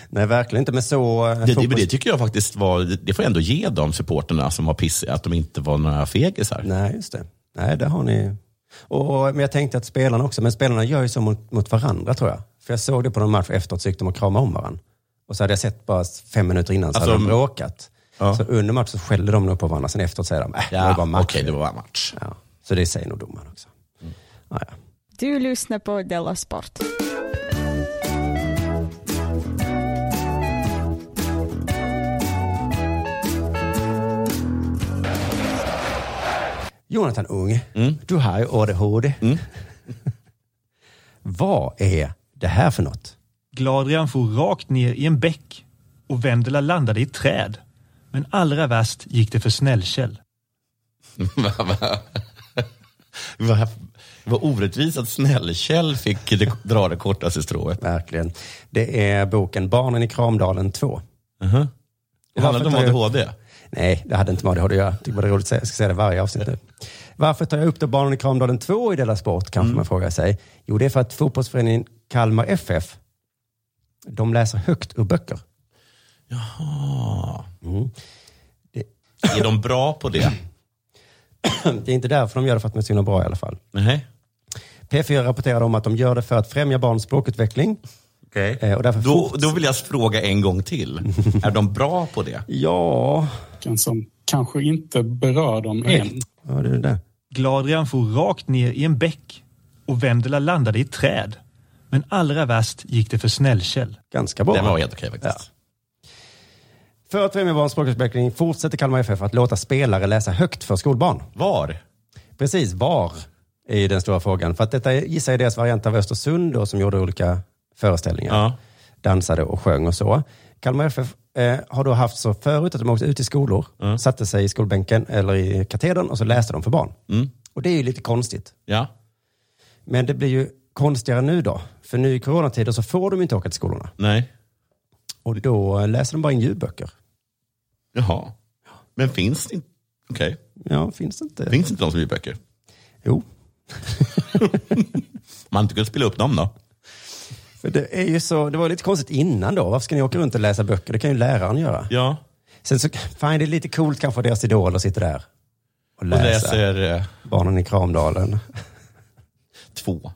[SPEAKER 2] Nej, verkligen inte. Men så... eh,
[SPEAKER 3] det, det,
[SPEAKER 2] fotbolls-
[SPEAKER 3] det tycker jag faktiskt var, det får jag ändå ge de supporterna som var pissiga, att de inte var några fegisar.
[SPEAKER 2] Nej, just det. Nej, det har ni. Och, men jag tänkte att spelarna också, men spelarna gör ju så mot, mot varandra tror jag. För jag såg det på någon match efteråt så gick de och kramade om varandra. Och så hade jag sett bara fem minuter innan så
[SPEAKER 3] Alltså,
[SPEAKER 2] hade de
[SPEAKER 3] de-
[SPEAKER 2] bråkat. Så under matchen så skällde de nog på varandra, sen efteråt säger de, äh, det
[SPEAKER 3] Ja,
[SPEAKER 2] var bara match.
[SPEAKER 3] okej, det Mm. var bara match.
[SPEAKER 2] Ja, så det säger nog domaren också. Ja, ja.
[SPEAKER 18] Du lyssnar på Della Sport.
[SPEAKER 2] Jonathan Ung,
[SPEAKER 3] Mm.
[SPEAKER 2] du har ju ADHD. Vad är det här för något?
[SPEAKER 17] Gladrian for rakt ner i en bäck och Vendela landade i ett träd. Men allra värst gick det för Snällkäll.
[SPEAKER 3] Vad- Vad orättvist att Snäll-Kjell fick det, dra det kortaste strået.
[SPEAKER 2] Verkligen. Det är boken Barnen i Kramdalen 2.
[SPEAKER 3] Mhm. Det handlar
[SPEAKER 2] Varför
[SPEAKER 3] om
[SPEAKER 2] tar jag-
[SPEAKER 3] ADHD?
[SPEAKER 2] Nej, det hade inte med ADHD att göra. Jag tycker bara det är roligt att säga, jag ska säga det varje avsnitt nu. Varför tar jag upp då Barnen i Kramdalen 2 i Della Sport,
[SPEAKER 16] Mm.
[SPEAKER 2] kanske man frågar sig. Jo, det är för att fotbollsföreningen Kalmar FF, de läser högt ur böcker.
[SPEAKER 3] Jaha.
[SPEAKER 2] Mm. Det...
[SPEAKER 3] Är de bra på det?
[SPEAKER 2] det är inte därför de gör det, för att de är så himla bra i alla fall.
[SPEAKER 3] Nej.
[SPEAKER 2] P4 rapporterade om att de gör det för att främja barns språkutveckling.
[SPEAKER 3] Okej.
[SPEAKER 2] Eh, och därför
[SPEAKER 3] Då, då vill jag fråga en gång till. är de bra på det?
[SPEAKER 2] Ja.
[SPEAKER 16] Som kanske inte berör dem än.
[SPEAKER 2] Ja, det är det där.
[SPEAKER 17] Gladrian for rakt ner i en bäck och Vendela landade i ett träd. Men allra värst gick det för Snällkäll.
[SPEAKER 2] Ganska bra.
[SPEAKER 3] Den var helt okej faktiskt.
[SPEAKER 2] För att främja barns språkutveckling fortsätter Kalmar FF att låta spelare läsa högt för skolbarn.
[SPEAKER 3] Var?
[SPEAKER 2] Precis, var är ju den stora frågan. För att detta är- gissar jag deras variant av Östersund då, som gjorde olika föreställningar. Dansade och sjöng och så. Kalmar FF eh, har då haft så förut att de åkte ut i skolor, satte sig i skolbänken eller i katedern och så läste de för barn.
[SPEAKER 3] Mm.
[SPEAKER 2] Och det är ju lite konstigt.
[SPEAKER 3] Ja.
[SPEAKER 2] Men det blir ju konstigare nu då. För nu i coronatider så får de inte åka till skolorna.
[SPEAKER 3] Nej.
[SPEAKER 2] Och då läser de bara in ljudböcker.
[SPEAKER 3] Jaha. Men finns det inte? Okej.
[SPEAKER 2] Ja, finns det inte.
[SPEAKER 3] Finns det inte de som gör böcker?
[SPEAKER 2] Jo.
[SPEAKER 3] Man inte kunde spela upp dem då?
[SPEAKER 2] För det, är ju så, det var ju lite konstigt innan då. Varför ska ni åka runt och läsa böcker? Det kan ju läraren göra.
[SPEAKER 3] Ja.
[SPEAKER 2] Sen så, fan det är lite coolt kanske att deras idoler sitter där och
[SPEAKER 3] Och
[SPEAKER 2] läser.
[SPEAKER 3] läser, eh,
[SPEAKER 2] Barnen i Kramdalen.
[SPEAKER 3] Två.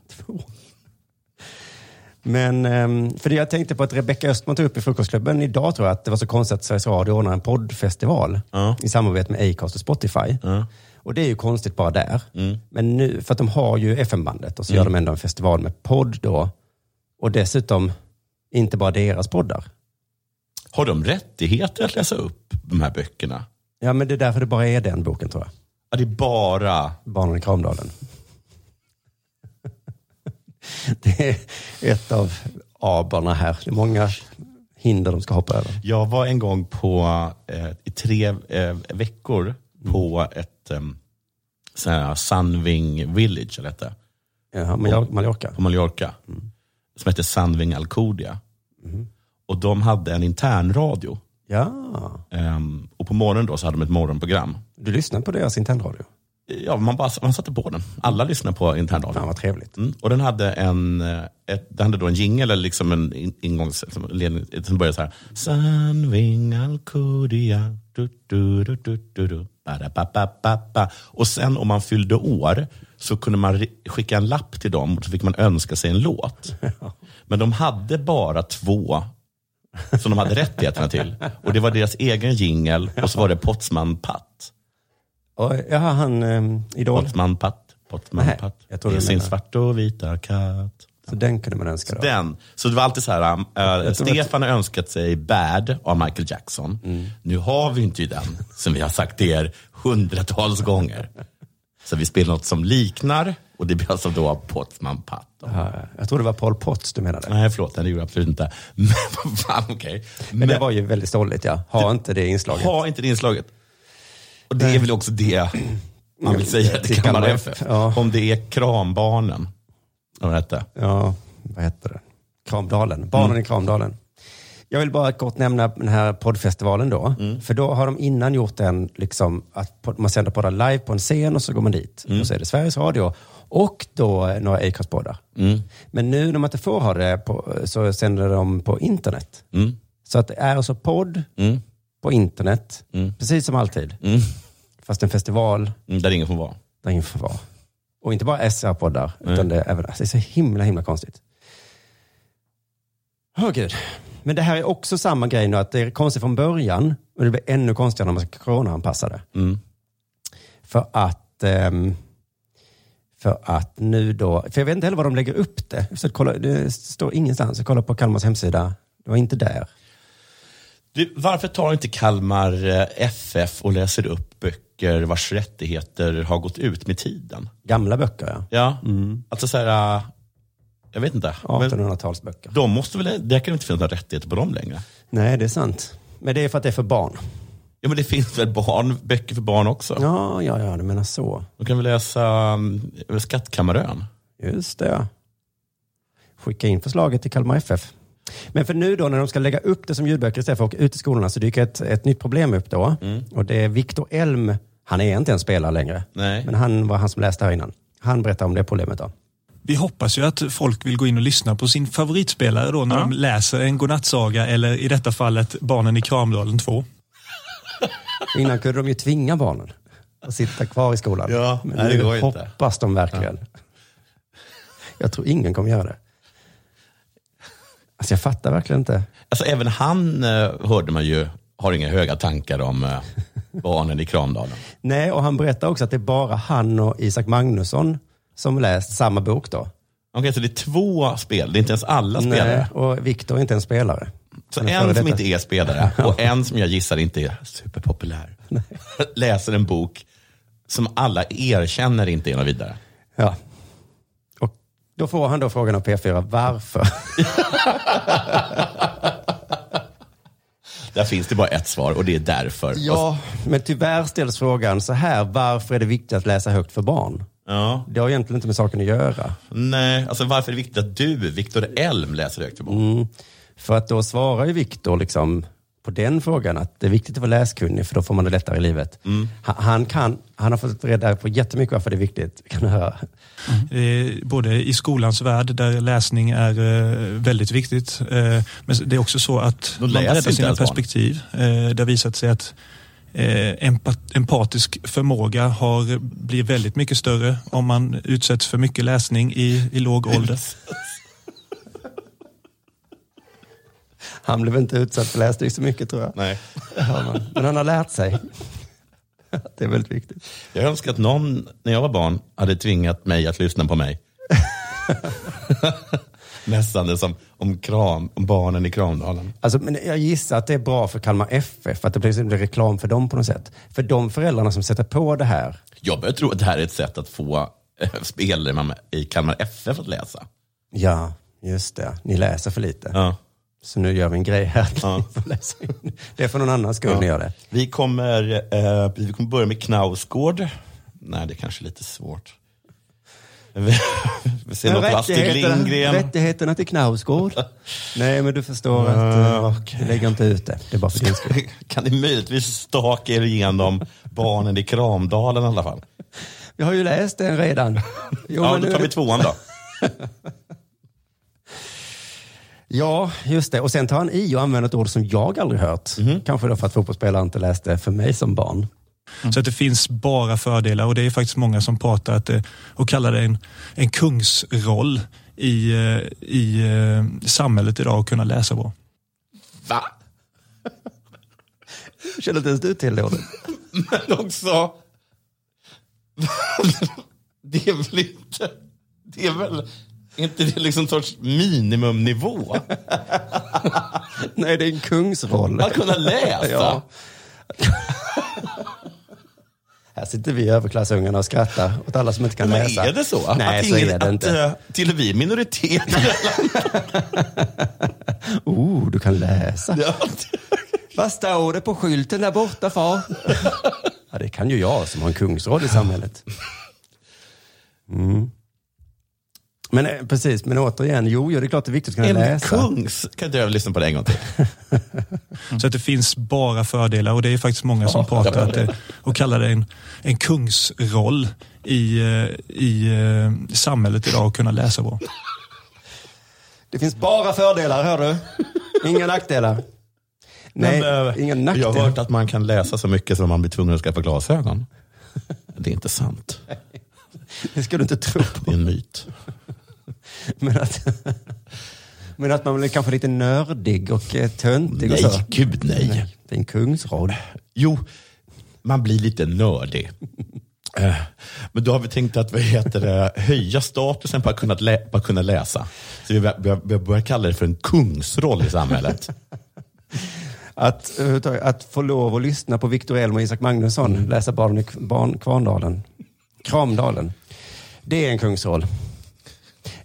[SPEAKER 2] Men, ehm, för det jag tänkte på att Rebecka Östman tog upp i Frukostklubben idag tror jag, att det var så konstigt att Sveriges Radio ordnar en poddfestival i samarbete med Acast och Spotify. Och det är ju konstigt bara där. Men nu, för att de har ju FM-bandet och så gör de ändå en festival med podd då. Och dessutom inte bara deras poddar.
[SPEAKER 3] Har de rättigheter att läsa upp de här böckerna?
[SPEAKER 2] Ja, men det är därför det bara är den boken tror jag.
[SPEAKER 3] Ja, det är bara...
[SPEAKER 2] Barnen i Kramdalen. det är ett av abarna här. Det är många hinder de ska hoppa över.
[SPEAKER 3] Jag var en gång på, eh, i tre eh, veckor på ett eh, sån här Sunwing Village, eller hette
[SPEAKER 2] Ja, Major- Mallorca.
[SPEAKER 3] På Mallorca. Som hette Sunwing Alcudia. Och de hade en intern radio.
[SPEAKER 2] Ja.
[SPEAKER 3] Ehm, och på morgonen då så hade de ett morgonprogram.
[SPEAKER 2] Du lyssnade på deras internradio?
[SPEAKER 3] Ja, man, bara, man satte på den. Alla lyssnade på internradion.
[SPEAKER 2] Ja, vad trevligt.
[SPEAKER 3] Mm. Och den hade, en, eh, ett, den hade då en jingle, eller liksom en in- ingångs... Liksom, ledning, som började så här. Sunwing Alcudia. Du, du, du, du, du, du. Ba, ba, ba, ba, ba. Och sen om man fyllde år så kunde man ri- skicka en lapp till dem och så fick man önska sig en låt. Men de hade bara två som de hade rättigheterna till. Och det var deras egen jingel och så var det Potsman Patt.
[SPEAKER 2] Oj, Jaha, han ehm, Idol.
[SPEAKER 3] Potsman Patt, Potsman
[SPEAKER 2] Nej,
[SPEAKER 3] Patt.
[SPEAKER 2] jag tror
[SPEAKER 3] I
[SPEAKER 2] du
[SPEAKER 3] sin
[SPEAKER 2] menar-
[SPEAKER 3] svarta och vita katt.
[SPEAKER 2] Så den kunde man önska då?
[SPEAKER 3] Den. Så det var alltid så här, äh,
[SPEAKER 2] Jag tror att-
[SPEAKER 3] Stefan har önskat sig Bad av Michael Jackson.
[SPEAKER 2] Mm.
[SPEAKER 3] Nu har vi inte den, som vi har sagt till er hundratals gånger. Så vi spelar något som liknar och det blir alltså då Potsman Patt.
[SPEAKER 2] Ja, jag tror det var Paul Potts du menade.
[SPEAKER 3] Nej, förlåt, nej, det gjorde jag absolut inte. Men vad fan, okej.
[SPEAKER 2] Men det var ju väldigt stolligt ja. Ha inte det inslaget.
[SPEAKER 3] Ha inte det inslaget. Och det är väl också det man vill säga till
[SPEAKER 2] Till Kalmar
[SPEAKER 3] Kalmar FF.
[SPEAKER 2] ja.
[SPEAKER 3] Om det är Krambarnen. Vad hette?
[SPEAKER 2] Ja, vad hette det? Kramdalen. Barnen
[SPEAKER 3] Mm.
[SPEAKER 2] i Kramdalen. Jag vill bara kort nämna den här poddfestivalen då.
[SPEAKER 3] Mm.
[SPEAKER 2] För då har de innan gjort en, liksom, att pod- man sänder poddar live på en scen och så går man dit.
[SPEAKER 3] Mm.
[SPEAKER 2] Och så är det Sveriges Radio och då eh, några Acast-poddar.
[SPEAKER 3] Mm.
[SPEAKER 2] Men nu när man inte får ha det på, så sänder de på internet.
[SPEAKER 3] Mm.
[SPEAKER 2] Så att det är alltså podd
[SPEAKER 3] Mm.
[SPEAKER 2] på internet,
[SPEAKER 3] Mm.
[SPEAKER 2] precis som alltid.
[SPEAKER 3] Mm.
[SPEAKER 2] Fast en festival
[SPEAKER 3] Mm, Där ingen får vara.
[SPEAKER 2] där ingen får vara. Och inte bara SR-poddar, utan
[SPEAKER 3] Nej.
[SPEAKER 2] det är, även, alltså det är så himla, himla konstigt. Åh gud. Men det här är också samma grej nu, att det är konstigt från början, och det blir ännu konstigare när man ska coronaanpassa det.
[SPEAKER 3] Mm.
[SPEAKER 2] För att, ehm, för att nu då, för jag vet inte heller var de lägger upp det. Så att kolla, det står ingenstans. Jag kollar på Kalmars hemsida, det var inte där.
[SPEAKER 3] Du, varför tar inte Kalmar eh, FF och läser upp böcker vars rättigheter har gått ut med tiden?
[SPEAKER 2] Gamla böcker ja.
[SPEAKER 3] Ja, alltså så här, eh, jag vet inte. Men
[SPEAKER 2] 1800-talsböcker.
[SPEAKER 3] de måste väl, det kan inte finnas några rättigheter på dem längre.
[SPEAKER 2] Nej, det är sant. Men det är för att det är för barn.
[SPEAKER 3] Ja, men det finns väl barn, böcker för barn också?
[SPEAKER 2] Ja, ja, ja, du menar så.
[SPEAKER 3] Då kan vi läsa um, Skattkammarön.
[SPEAKER 2] Just det. Skicka in förslaget till Kalmar FF. Men för nu då när de ska lägga upp det som ljudböcker istället för att åka ut i skolorna så dyker ett, ett nytt problem upp då. Och det är Viktor Elm, han är inte en spelare längre.
[SPEAKER 3] Nej.
[SPEAKER 2] Men han var han som läste här innan. Han berättar om det problemet då.
[SPEAKER 17] Vi hoppas ju att folk vill gå in och lyssna på sin favoritspelare då när de läser en godnattsaga eller i detta fallet Barnen i Kramdalen 2.
[SPEAKER 2] Innan kunde de ju tvinga barnen att sitta kvar i skolan.
[SPEAKER 3] Ja,
[SPEAKER 2] Men
[SPEAKER 3] nej, det
[SPEAKER 2] nu
[SPEAKER 3] går inte.
[SPEAKER 2] hoppas de verkligen. Jag tror ingen kommer göra det. Alltså jag fattar verkligen inte.
[SPEAKER 3] Alltså även han, eh, hörde man ju, har inga höga tankar om eh, barnen i Kramdalen.
[SPEAKER 2] Nej, och han berättar också att det är bara han och Isak Magnusson som läst samma bok då.
[SPEAKER 3] Okej, så det är två spel, det är inte ens alla
[SPEAKER 2] Nej,
[SPEAKER 3] spelare.
[SPEAKER 2] och Viktor är inte en spelare.
[SPEAKER 3] Så
[SPEAKER 2] Han är före
[SPEAKER 3] en som
[SPEAKER 2] detta.
[SPEAKER 3] inte är spelare och en som jag gissar inte är superpopulär läser en bok som alla erkänner inte är något vidare.
[SPEAKER 2] Ja. Och då får han då frågan av P4, varför?
[SPEAKER 3] Där finns det bara ett svar och det är därför.
[SPEAKER 2] Ja, men tyvärr ställs frågan så här, varför är det viktigt att läsa högt för barn?
[SPEAKER 3] Ja.
[SPEAKER 2] Det har egentligen inte med saken att göra.
[SPEAKER 3] Nej, alltså varför är det viktigt att du, Viktor Elm, läser högt för barn?
[SPEAKER 2] Mm. För att då svarar ju Viktor liksom på den frågan att det är viktigt att vara läskunnig för då får man det lättare i livet. Han, han, kan, han har fått reda på jättemycket varför det är viktigt. Kan du höra?
[SPEAKER 17] Eh, både i skolans värld där läsning är eh, väldigt viktigt. Eh, men det är också så att
[SPEAKER 3] De
[SPEAKER 17] man
[SPEAKER 3] läser
[SPEAKER 17] breddar
[SPEAKER 3] inte
[SPEAKER 17] sina
[SPEAKER 3] ens barn.
[SPEAKER 17] perspektiv. Eh, det har visat sig att eh, empa- empatisk förmåga har, blir väldigt mycket större om man utsätts för mycket läsning i, i låg ålder.
[SPEAKER 2] Han blev inte utsatt för läsning så mycket tror jag.
[SPEAKER 3] Nej.
[SPEAKER 2] Men han har lärt sig. Det är väldigt viktigt.
[SPEAKER 3] Jag önskar att någon, när jag var barn, hade tvingat mig att lyssna på mig. Nästan det som om, kram, om barnen i Kramdalen.
[SPEAKER 2] Alltså, men jag gissar att det är bra för Kalmar FF, att det blir liksom reklam för dem på något sätt. För de föräldrarna som sätter på det här.
[SPEAKER 3] Jag börjar tro att det här är ett sätt att få eh, spelare man- i Kalmar FF att läsa.
[SPEAKER 2] Ja, just det. Ni läser för lite. Så nu gör vi en grej här. Ni får läsa in. Det är för någon annans skull ni gör det.
[SPEAKER 3] Vi kommer, eh, vi kommer börja med Knausgård. Nej, det kanske är lite svårt. Vi, vi ser något Astrid Lindgren.
[SPEAKER 2] rättigheterna till Knausgård. Nej, men du förstår att
[SPEAKER 3] Ah,
[SPEAKER 2] uh, jag lägger inte ut det. Det är bara för din skull.
[SPEAKER 3] Kan ni möjligtvis staka er igenom barnen i Kramdalen i alla fall?
[SPEAKER 2] Jag har ju läst den redan. Jo,
[SPEAKER 3] ja,
[SPEAKER 2] men nu
[SPEAKER 3] då tar
[SPEAKER 2] är
[SPEAKER 3] vi
[SPEAKER 2] det-
[SPEAKER 3] tvåan då.
[SPEAKER 2] Ja, just det. Och sen tar han i och använder ett ord som jag aldrig hört. Kanske då för att fotbollsspelare inte läste för mig som barn.
[SPEAKER 17] Så att det finns bara fördelar och det är faktiskt många som pratar att, det- och kallar det en, en kungsroll i, eh, i eh, samhället idag att kunna läsa bra.
[SPEAKER 3] Va?
[SPEAKER 2] Känner inte ens du till det ordet?
[SPEAKER 3] Men också... det är väl inte... Det är väl inte det liksom sorts minimumnivå?
[SPEAKER 2] Nej, det är en kungsroll.
[SPEAKER 3] Att kunna läsa?
[SPEAKER 2] Ja. Här sitter vi överklassungarna och skrattar åt alla som inte kan
[SPEAKER 3] Men
[SPEAKER 2] läsa.
[SPEAKER 3] är det så?
[SPEAKER 2] Nej,
[SPEAKER 3] Att
[SPEAKER 2] så
[SPEAKER 3] ingen-
[SPEAKER 2] är det
[SPEAKER 3] att,
[SPEAKER 2] inte.
[SPEAKER 3] eh, Till och med minoriteter.
[SPEAKER 2] Oh, du kan läsa. Vad står det på skylten där borta, far? ja, det kan ju jag som har en kungsroll i samhället. Mm. Men eh, precis, men återigen, jo, jo, det är klart det är viktigt att kunna
[SPEAKER 3] en
[SPEAKER 2] läsa.
[SPEAKER 3] kungs... Kan inte jag lyssna på det en gång till?
[SPEAKER 17] Så att det finns bara fördelar och det är faktiskt många som pratar att, det- och kallar det en, en kungsroll i, eh, i eh, samhället idag att kunna läsa bra.
[SPEAKER 2] Det finns bara fördelar, hör du? Inga nackdelar. Nej, inga
[SPEAKER 3] eh, Jag
[SPEAKER 2] nackdelar.
[SPEAKER 3] har hört att man kan läsa så mycket som man blir tvungen att skaffa glasögon. Det är inte sant.
[SPEAKER 2] Det ska du inte tro på.
[SPEAKER 3] Det är en myt.
[SPEAKER 2] Men att, men att man blir kanske lite nördig och eh, töntig och
[SPEAKER 3] Nej,
[SPEAKER 2] så.
[SPEAKER 3] gud nej.
[SPEAKER 2] Det är en kungsroll.
[SPEAKER 3] Jo, man blir lite nördig. Eh, Men då har vi tänkt att vad heter det, höja statusen på att, kunna lä- på att kunna läsa. Så vi bör- bör- bör- börjar kalla det för en kungsroll i samhället.
[SPEAKER 2] Att, eh, överhuvudtaget- att få lov att lyssna på Viktor Elm och Isak Magnusson
[SPEAKER 3] Mm.
[SPEAKER 2] läsa barn i barn, Kvarndalen. Kramdalen. Det är en kungsroll.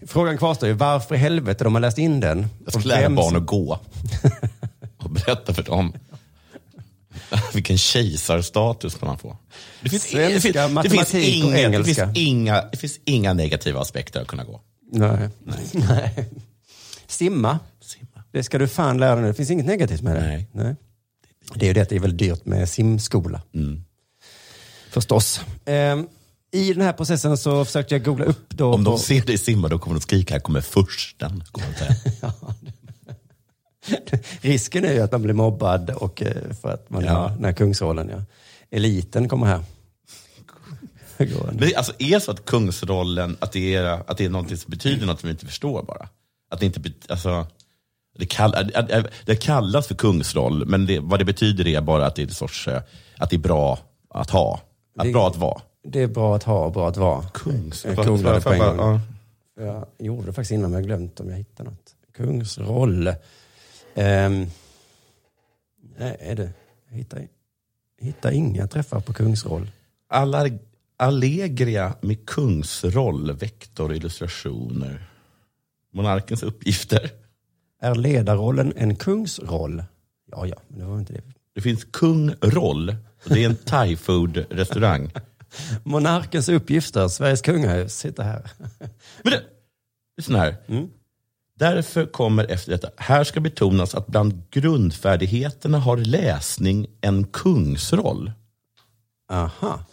[SPEAKER 2] Frågan kvarstår ju, varför i helvete de har läst in den?
[SPEAKER 3] Jag ska
[SPEAKER 2] Och
[SPEAKER 3] lära
[SPEAKER 2] vem
[SPEAKER 3] barn
[SPEAKER 2] som-
[SPEAKER 3] att gå. Och berätta för dem vilken kejsarstatus man får. Det finns,
[SPEAKER 2] Svenska,
[SPEAKER 3] det finns, det
[SPEAKER 2] matematik
[SPEAKER 3] finns,
[SPEAKER 2] och
[SPEAKER 3] inga, det, finns
[SPEAKER 2] engelska.
[SPEAKER 3] inga, det finns inga negativa aspekter att kunna gå.
[SPEAKER 2] Nej. Nej. Simma. Det ska du fan lära dig nu. Det finns inget negativt med det. Nej. Det är ju det att det är väldigt dyrt med simskola.
[SPEAKER 3] Mm.
[SPEAKER 2] Förstås. Ehm, I den här processen så försökte jag googla upp då.
[SPEAKER 3] Om de
[SPEAKER 2] på-
[SPEAKER 3] ser dig simma, då kommer de skrika, här kommer fursten. Kommer de säga.
[SPEAKER 2] Risken är ju att man blir mobbad och eh, för att man
[SPEAKER 3] Ja.
[SPEAKER 2] har den här kungsrollen. Ja. Eliten kommer här.
[SPEAKER 3] Men alltså, är det så att kungsrollen, att det är, att det är någonting som betyder något som vi inte förstår bara? Att det inte bet- alltså, det, kall, att- att- att det kallas för kungsroll, men det, vad det betyder är bara att det är en sorts, eh, att det är bra att ha. Att
[SPEAKER 2] Det-
[SPEAKER 3] bra att vara.
[SPEAKER 2] Det är bra att ha och bra att vara.
[SPEAKER 3] Kungsroll.
[SPEAKER 2] Eh, Kungsroll på en
[SPEAKER 3] Bara-
[SPEAKER 2] gång. Jag gjorde det faktiskt innan men jag har glömt om jag hittar något. Kungsroll. Ehm, nej, är det? Jag hittar, hittar inga träffar på kungsroll.
[SPEAKER 3] Allar, Allegria med kungsroll, vektor, illustrationer. Monarkens uppgifter.
[SPEAKER 2] Är ledarrollen en kungsroll? Ja, ja, men det var inte det.
[SPEAKER 3] Det finns kungroll. och Det är en thai food restaurang
[SPEAKER 2] Monarkens uppgifter, Sveriges kungahus, sitter här.
[SPEAKER 3] Lyssna här. Därför kommer efter detta, här ska betonas att bland grundfärdigheterna har läsning en kungsroll.
[SPEAKER 2] Aha.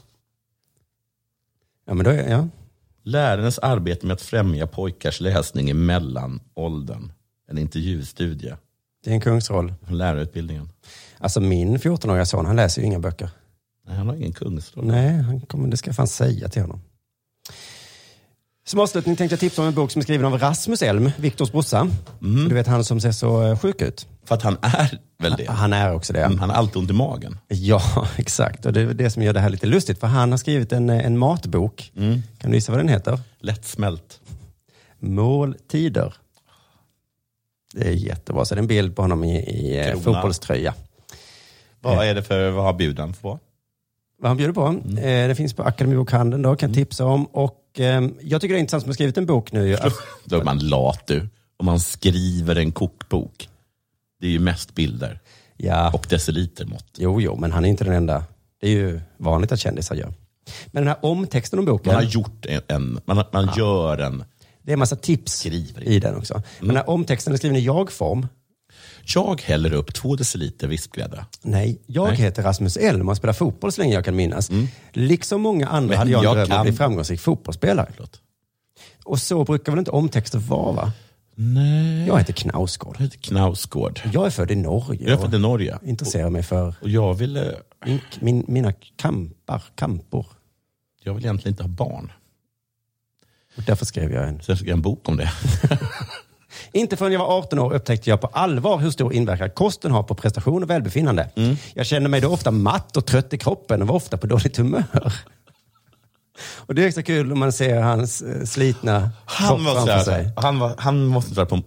[SPEAKER 2] Ja, men då är, ja.
[SPEAKER 3] Lärarens arbete med att främja pojkars läsning i mellanåldern. En intervjustudie
[SPEAKER 2] Det är en kungsroll.
[SPEAKER 3] från lärarutbildningen.
[SPEAKER 2] Alltså min 14-åriga son, han läser ju inga böcker.
[SPEAKER 3] Nej, han har ingen kungsroll.
[SPEAKER 2] Nej, han kommer, det ska jag fan säga till honom. Som avslutning tänkte jag tipsa om en bok som är skriven av Rasmus Elm, Viktors brorsa. Du vet han som ser så eh, sjuk ut.
[SPEAKER 3] För att han är Mm. väl Mhm. det?
[SPEAKER 2] Han är också det.
[SPEAKER 3] han har alltid ont i magen.
[SPEAKER 2] Ja, exakt. Och det är det som gör det här lite lustigt. För han har skrivit en, eh, en matbok.
[SPEAKER 3] Mm.
[SPEAKER 2] Kan du gissa vad den heter?
[SPEAKER 3] Lättsmält.
[SPEAKER 2] Måltider. Det är jättebra. Så det är en bild på honom i, i eh,
[SPEAKER 3] Krona.
[SPEAKER 2] fotbollströja.
[SPEAKER 3] Vad är det för, vad bjuder han på?
[SPEAKER 2] vad han bjuder på.
[SPEAKER 3] Mm.
[SPEAKER 2] Eh, det finns på Akademibokhandeln, då, kan jag tipsa om. Och, ehm, jag tycker det är intressant som har skrivit en bok nu.
[SPEAKER 3] Då är man lat du. Om man skriver en kokbok. Det är ju mest bilder.
[SPEAKER 2] Ja.
[SPEAKER 3] Och deciliter mått.
[SPEAKER 2] Jo, jo, men han är inte den enda. Det är ju vanligt att kändisar gör. Men den här omtexten om boken.
[SPEAKER 3] Man har gjort en, en man, har- man gör en...
[SPEAKER 2] Det är en massa tips i den också. Men den här omtexten är skriven i jag-form.
[SPEAKER 3] Jag häller upp två deciliter vispgrädde.
[SPEAKER 2] Nej, jag
[SPEAKER 3] Nej. Mm.
[SPEAKER 2] heter Rasmus Elm och spelar fotboll så länge jag kan minnas. Liksom många andra
[SPEAKER 3] Men
[SPEAKER 2] hade jag,
[SPEAKER 3] jag
[SPEAKER 2] en dröm om
[SPEAKER 3] kan-
[SPEAKER 2] att bli framgångsrik fotbollsspelare. Och så brukar väl inte omtexter vara? Va?
[SPEAKER 3] Nej.
[SPEAKER 2] Jag heter Knausgård.
[SPEAKER 3] Jag heter Knausgård.
[SPEAKER 2] Jag är född i Norge.
[SPEAKER 3] Jag är född i Norge.
[SPEAKER 2] Intresserar mig för
[SPEAKER 3] Och jag eh, ville,
[SPEAKER 2] min, min, mina kampar, kampor.
[SPEAKER 3] jag vill egentligen inte ha barn.
[SPEAKER 2] Och därför skrev jag en...
[SPEAKER 3] Sen skrev jag en bok om det.
[SPEAKER 2] Inte förrän jag var 18 år upptäckte jag på allvar hur stor inverkan kosten har på prestation och välbefinnande. Jag kände mig då ofta matt och trött i kroppen och var ofta på dåligt humör. Och det är extra kul om man ser hans eh, slitna kropp
[SPEAKER 3] Han, måste,
[SPEAKER 2] framför
[SPEAKER 3] säga-
[SPEAKER 2] sig.
[SPEAKER 3] han, var, han måste svara på om,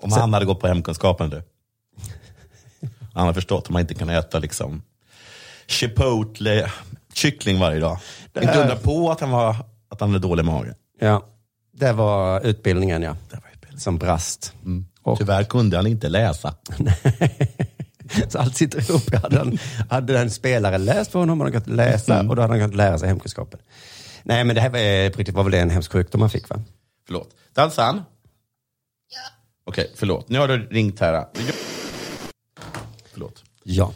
[SPEAKER 3] om han hade gått på hemkunskapen. Du. Han har förstått att man inte kan äta liksom chipotle kyckling varje dag.
[SPEAKER 2] Det
[SPEAKER 3] inte
[SPEAKER 2] här-
[SPEAKER 3] undra på att han, var, att han hade dålig mage.
[SPEAKER 2] Ja, det var utbildningen ja. Som brast.
[SPEAKER 3] Mm. Tyvärr kunde han inte läsa.
[SPEAKER 2] Så allt sitter ihop. Hade, han, hade en spelare läst för honom hade han kunnat läsa och då hade han kunnat lära sig hemkunskapen. Nej men det här var, eh, på riktigt var väl det en hemsk sjukdom han fick va?
[SPEAKER 3] Förlåt. Dansan? Ja. Okej, förlåt. Nu har du ringt här. Jag... Förlåt.
[SPEAKER 2] Ja.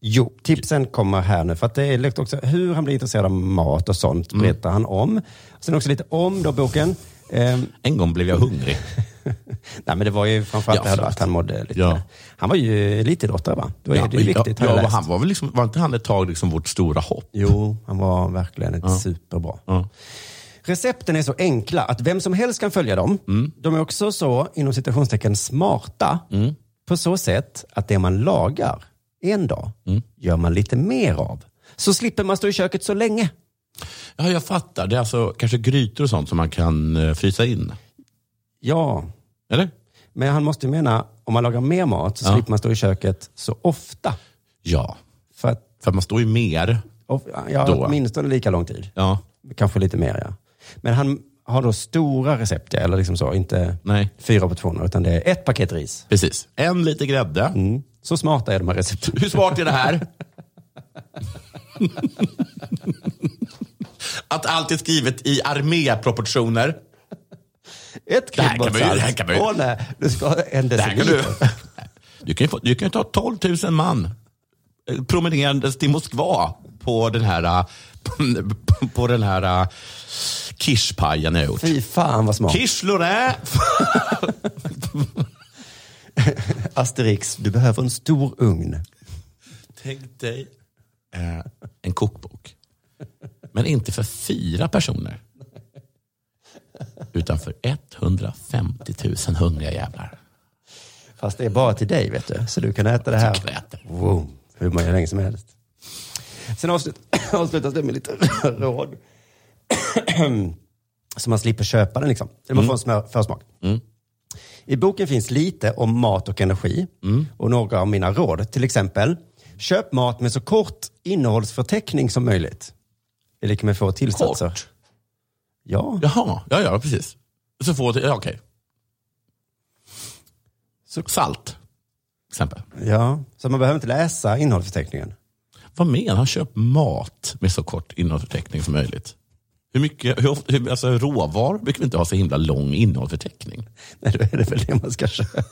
[SPEAKER 2] Jo, tipsen kommer här nu. För att det är lite också hur han blir intresserad av mat och sånt
[SPEAKER 3] Mm.
[SPEAKER 2] berättar han om. Sen också lite om då boken. Ehm,
[SPEAKER 3] en gång blev jag hungrig.
[SPEAKER 2] Nej men det var ju framförallt
[SPEAKER 3] Ja,
[SPEAKER 2] det här då
[SPEAKER 3] förlåt.
[SPEAKER 2] att han mådde lite...
[SPEAKER 3] Ja.
[SPEAKER 2] Han var ju elitidrottare va? Det, var, det är ju viktigt. har
[SPEAKER 3] Ja,
[SPEAKER 2] jag
[SPEAKER 3] ja,
[SPEAKER 2] läst.
[SPEAKER 3] han var, väl liksom, var inte han ett tag liksom vårt stora hopp?
[SPEAKER 2] Jo, han var verkligen ett superbra. Recepten är så enkla att vem som helst kan följa dem.
[SPEAKER 3] Mm.
[SPEAKER 2] De är också så, inom citationstecken, smarta
[SPEAKER 3] Mm.
[SPEAKER 2] på så sätt att det man lagar en dag
[SPEAKER 3] Mm.
[SPEAKER 2] gör man lite mer av. Så slipper man stå i köket så länge.
[SPEAKER 3] Ja, jag fattar. Det är alltså kanske grytor och sånt som man kan eh, frysa in.
[SPEAKER 2] Ja.
[SPEAKER 3] Eller?
[SPEAKER 2] Men han måste ju mena, om man lagar mer mat så
[SPEAKER 3] Ja.
[SPEAKER 2] slipper man stå i köket så ofta.
[SPEAKER 3] Ja.
[SPEAKER 2] För att,
[SPEAKER 3] För att man står ju mer.
[SPEAKER 2] of, ja,
[SPEAKER 3] Då.
[SPEAKER 2] åtminstone lika lång tid.
[SPEAKER 3] Ja.
[SPEAKER 2] Kanske lite mer ja. Men han har då stora recept, ja, eller liksom så. Inte
[SPEAKER 3] Nej.
[SPEAKER 2] fyra portioner, utan det är ett paket ris.
[SPEAKER 3] Precis. En lite grädde.
[SPEAKER 2] Mm. Så smarta är de här recepten.
[SPEAKER 3] Hur smart är Mm. det här? att allt är skrivet i arméproportioner.
[SPEAKER 2] Ett
[SPEAKER 3] Det här kan man ju-
[SPEAKER 2] salt.
[SPEAKER 3] det här kan man ju-
[SPEAKER 2] Åh nej, du ska ha en
[SPEAKER 3] Det här kan du,
[SPEAKER 2] deciliter.
[SPEAKER 3] du, kan ju få, du kan ju ta 12 000 man eh, promenerandes till Moskva på den här, eh, på, på den här eh, kirschpajen jag har gjort.
[SPEAKER 2] Fy fan vad smart.
[SPEAKER 3] Quiche Lorraine.
[SPEAKER 2] Asterix, du behöver en stor ugn.
[SPEAKER 3] Tänk dig eh, en kokbok. Men inte för fyra personer. Utan för 150 000 hungriga jävlar.
[SPEAKER 2] Fast det är bara till dig, vet du. Så du kan äta det här. Wow, hur många länge som helst. Sen avslut, avslutas det med lite råd. Så man slipper köpa den liksom. Eller man
[SPEAKER 10] Mm.
[SPEAKER 2] får en smör, försmak.
[SPEAKER 10] Mm.
[SPEAKER 2] I boken finns lite om mat och energi
[SPEAKER 10] Mm.
[SPEAKER 2] och några av mina råd. Till exempel, köp mat med så kort innehållsförteckning som möjligt. Det är lika med få tillsatser. Kort? Ja.
[SPEAKER 3] Jaha, ja, ja precis. Så får ja, okej. Salt, exempel.
[SPEAKER 2] Ja, så man behöver inte läsa innehållsförteckningen.
[SPEAKER 3] Vad menar han? Köp mat med så kort innehållsförteckning som möjligt. Hur mycket, hur, ofta- hur, alltså råvaror brukar vi inte ha så himla lång innehållsförteckning.
[SPEAKER 2] Nej, då är det väl det man ska köpa.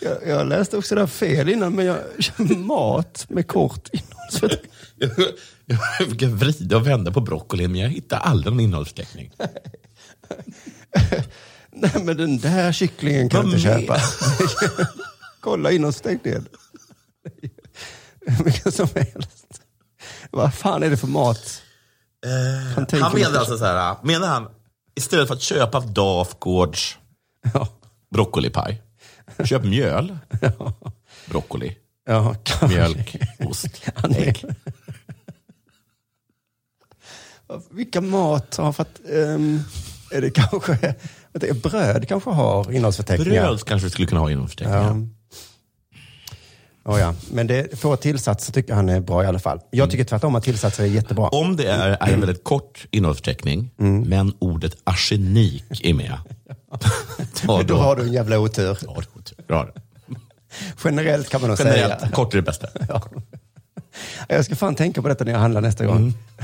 [SPEAKER 2] Jag, jag läste också det här fel innan, men jag mat med kort innehållsförteckning.
[SPEAKER 3] Jag, jag, jag brukar vrida och vända på broccolin, men jag hittar aldrig någon innehållsförteckning.
[SPEAKER 2] Nej, men den där kycklingen kan jag inte
[SPEAKER 3] Vad
[SPEAKER 2] köpa. Kolla innehållsförteckningen. Vilken som helst. Vad fan är det för mat?
[SPEAKER 3] Han,
[SPEAKER 2] tänker
[SPEAKER 3] menar
[SPEAKER 2] inte-
[SPEAKER 3] alltså så här, menar han, istället för att köpa Dafgårds broccolipaj, köp mjöl, broccoli,
[SPEAKER 2] Ja, kanske.
[SPEAKER 3] mjölk, ost,
[SPEAKER 2] Han är-
[SPEAKER 3] ägg.
[SPEAKER 2] Alltså, Vilka mat har för att... ehm, är det kanske... Att det är bröd kanske har innehållsförteckningar.
[SPEAKER 3] Bröd kanske vi skulle kunna ha innehållsförteckningar.
[SPEAKER 2] Oh, ja. Men det, få tillsatser tycker han är bra i alla fall. Jag tycker tvärtom att tillsatser är jättebra.
[SPEAKER 3] Om det är,
[SPEAKER 2] Mm.
[SPEAKER 3] är en väldigt kort innehållsförteckning, men ordet arsenik är med. Ta
[SPEAKER 2] då har du en jävla otur.
[SPEAKER 3] Bra.
[SPEAKER 2] Generellt kan man nog
[SPEAKER 3] Generellt,
[SPEAKER 2] säga.
[SPEAKER 3] kort är det bästa.
[SPEAKER 2] Jag ska fan tänka på detta när jag handlar nästa
[SPEAKER 3] Mm.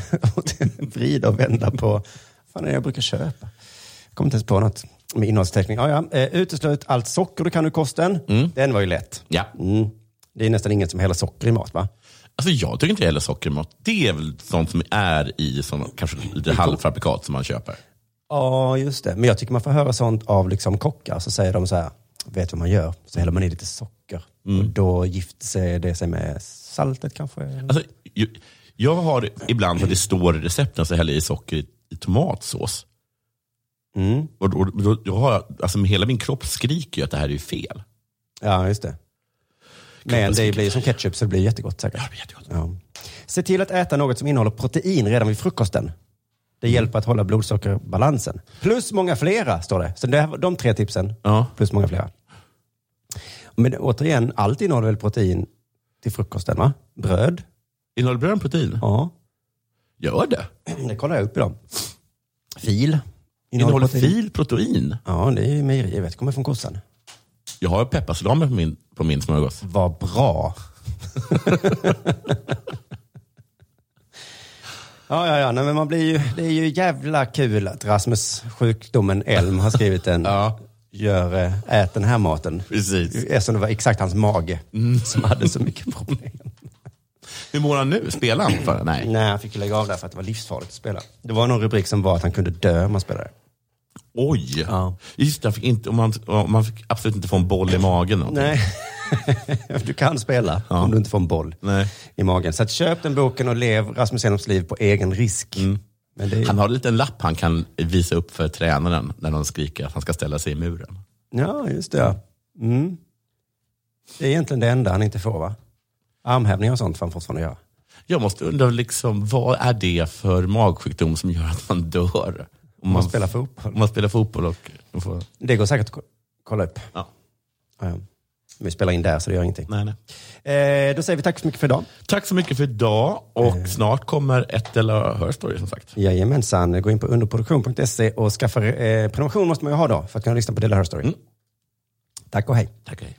[SPEAKER 2] gång. Vrida och vända på... Vad fan är det jag brukar köpa? Jag kommer inte ens på något med innehållsförteckning. Ja, ja. Eh, Uteslut allt socker du kan ur kosten. Den var ju lätt.
[SPEAKER 3] Ja.
[SPEAKER 2] Mm. Det är nästan ingen som häller socker i mat, va?
[SPEAKER 3] Alltså jag tycker inte heller sockermat, det är väl sånt som är i som, kanske lite halvfabrikat som man köper.
[SPEAKER 2] Ja, just det. Men jag tycker man får höra sånt av liksom kockar. Så säger de så här, vet du vad man gör? Så häller man i lite socker. Och då gifter sig det sig med saltet kanske.
[SPEAKER 3] Alltså, ju- jag har ibland, för det står i recepten, så häller jag i socker i, i tomatsås.
[SPEAKER 2] Mm.
[SPEAKER 3] Och då, då, då har jag, alltså, hela min kropp skriker ju att det här är ju fel.
[SPEAKER 2] Ja, just det. Men det blir som ketchup så det blir jättegott säkert. Ja, det blir jättegott. Se till att äta något som innehåller protein redan vid frukosten. Det hjälper att hålla blodsockerbalansen. Plus många flera, står det. Så det här, de tre tipsen, plus många flera. Men återigen, allt innehåller väl protein till frukosten, va? Bröd.
[SPEAKER 3] Innehåller bröd protein?
[SPEAKER 2] Ja.
[SPEAKER 3] Gör det?
[SPEAKER 2] Det kollar jag upp idag. Fil.
[SPEAKER 3] Innehåller fil protein?
[SPEAKER 2] Ja, det är mejeri. Jag vet, kommer från kossan.
[SPEAKER 3] Jag har pepparsalami på min, på min smörgås.
[SPEAKER 2] Vad bra. Ja, ja, ja. Nej, men man blir ju, det är ju jävla kul att Rasmus sjukdomen Elm har skrivit en. Gör, eh, ät den här maten.
[SPEAKER 3] Precis.
[SPEAKER 2] Eftersom det var exakt hans mage
[SPEAKER 3] Mm,
[SPEAKER 2] som hade så mycket problem.
[SPEAKER 3] Hur mår han nu? Spelar han fortfarande? Nej.
[SPEAKER 2] Nej, han fick ju lägga av där för att det var livsfarligt att spela. Det var någon rubrik som var att han kunde dö om han spelade.
[SPEAKER 3] Oj! Just det, han fick inte, om man, om man fick absolut inte få en boll i magen. och-
[SPEAKER 2] Nej, du kan spela om du inte får en boll i magen. Så att köp den boken och lev Rasmus Elms liv på egen risk. Men det är...
[SPEAKER 3] Mm. Han har en liten lapp han kan visa upp för tränaren när de skriker att han ska ställa sig i muren.
[SPEAKER 2] Ja, just det. ja. Mm. Det är egentligen det enda han inte får, va? Armhävningar och sånt får han fortfarande göra.
[SPEAKER 3] Jag måste undra, liksom, vad är det för magsjukdom som gör att man dör? Om
[SPEAKER 2] man spelar fotboll.
[SPEAKER 3] Om man spelar fotboll och och får...
[SPEAKER 2] Det går säkert att ko- kolla upp.
[SPEAKER 3] Ja.
[SPEAKER 2] Ja. Vi spelar in där, så det gör ingenting.
[SPEAKER 3] Nej, nej.
[SPEAKER 2] Eh, då säger vi tack så mycket för idag.
[SPEAKER 3] Tack så mycket för idag och snart kommer ett eller hör story som sagt.
[SPEAKER 2] Jajamensan, gå in på underproduktion.se E och skaffa eh, prenumeration måste man ju ha då för att kunna lyssna på Dela Her Story. Tack och hej.
[SPEAKER 3] Tack och hej.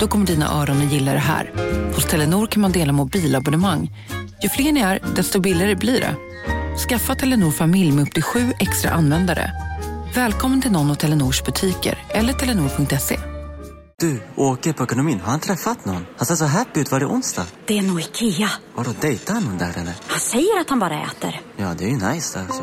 [SPEAKER 19] Då kommer dina öron att gilla det här. Hos Telenor kan man dela mobilabonnemang. Ju fler ni är, desto billigare blir det. Skaffa Telenor familj med upp till sju extra användare. Välkommen till någon av Telenors butiker eller telenor.se.
[SPEAKER 17] Du, åker på ekonomin. Har han träffat någon? Han ser så happy ut. Var det onsdag?
[SPEAKER 1] Det är nog Ikea.
[SPEAKER 17] Vadå, dejtar han någon där eller?
[SPEAKER 1] Han säger att han bara äter.
[SPEAKER 17] Ja, det är ju nice alltså.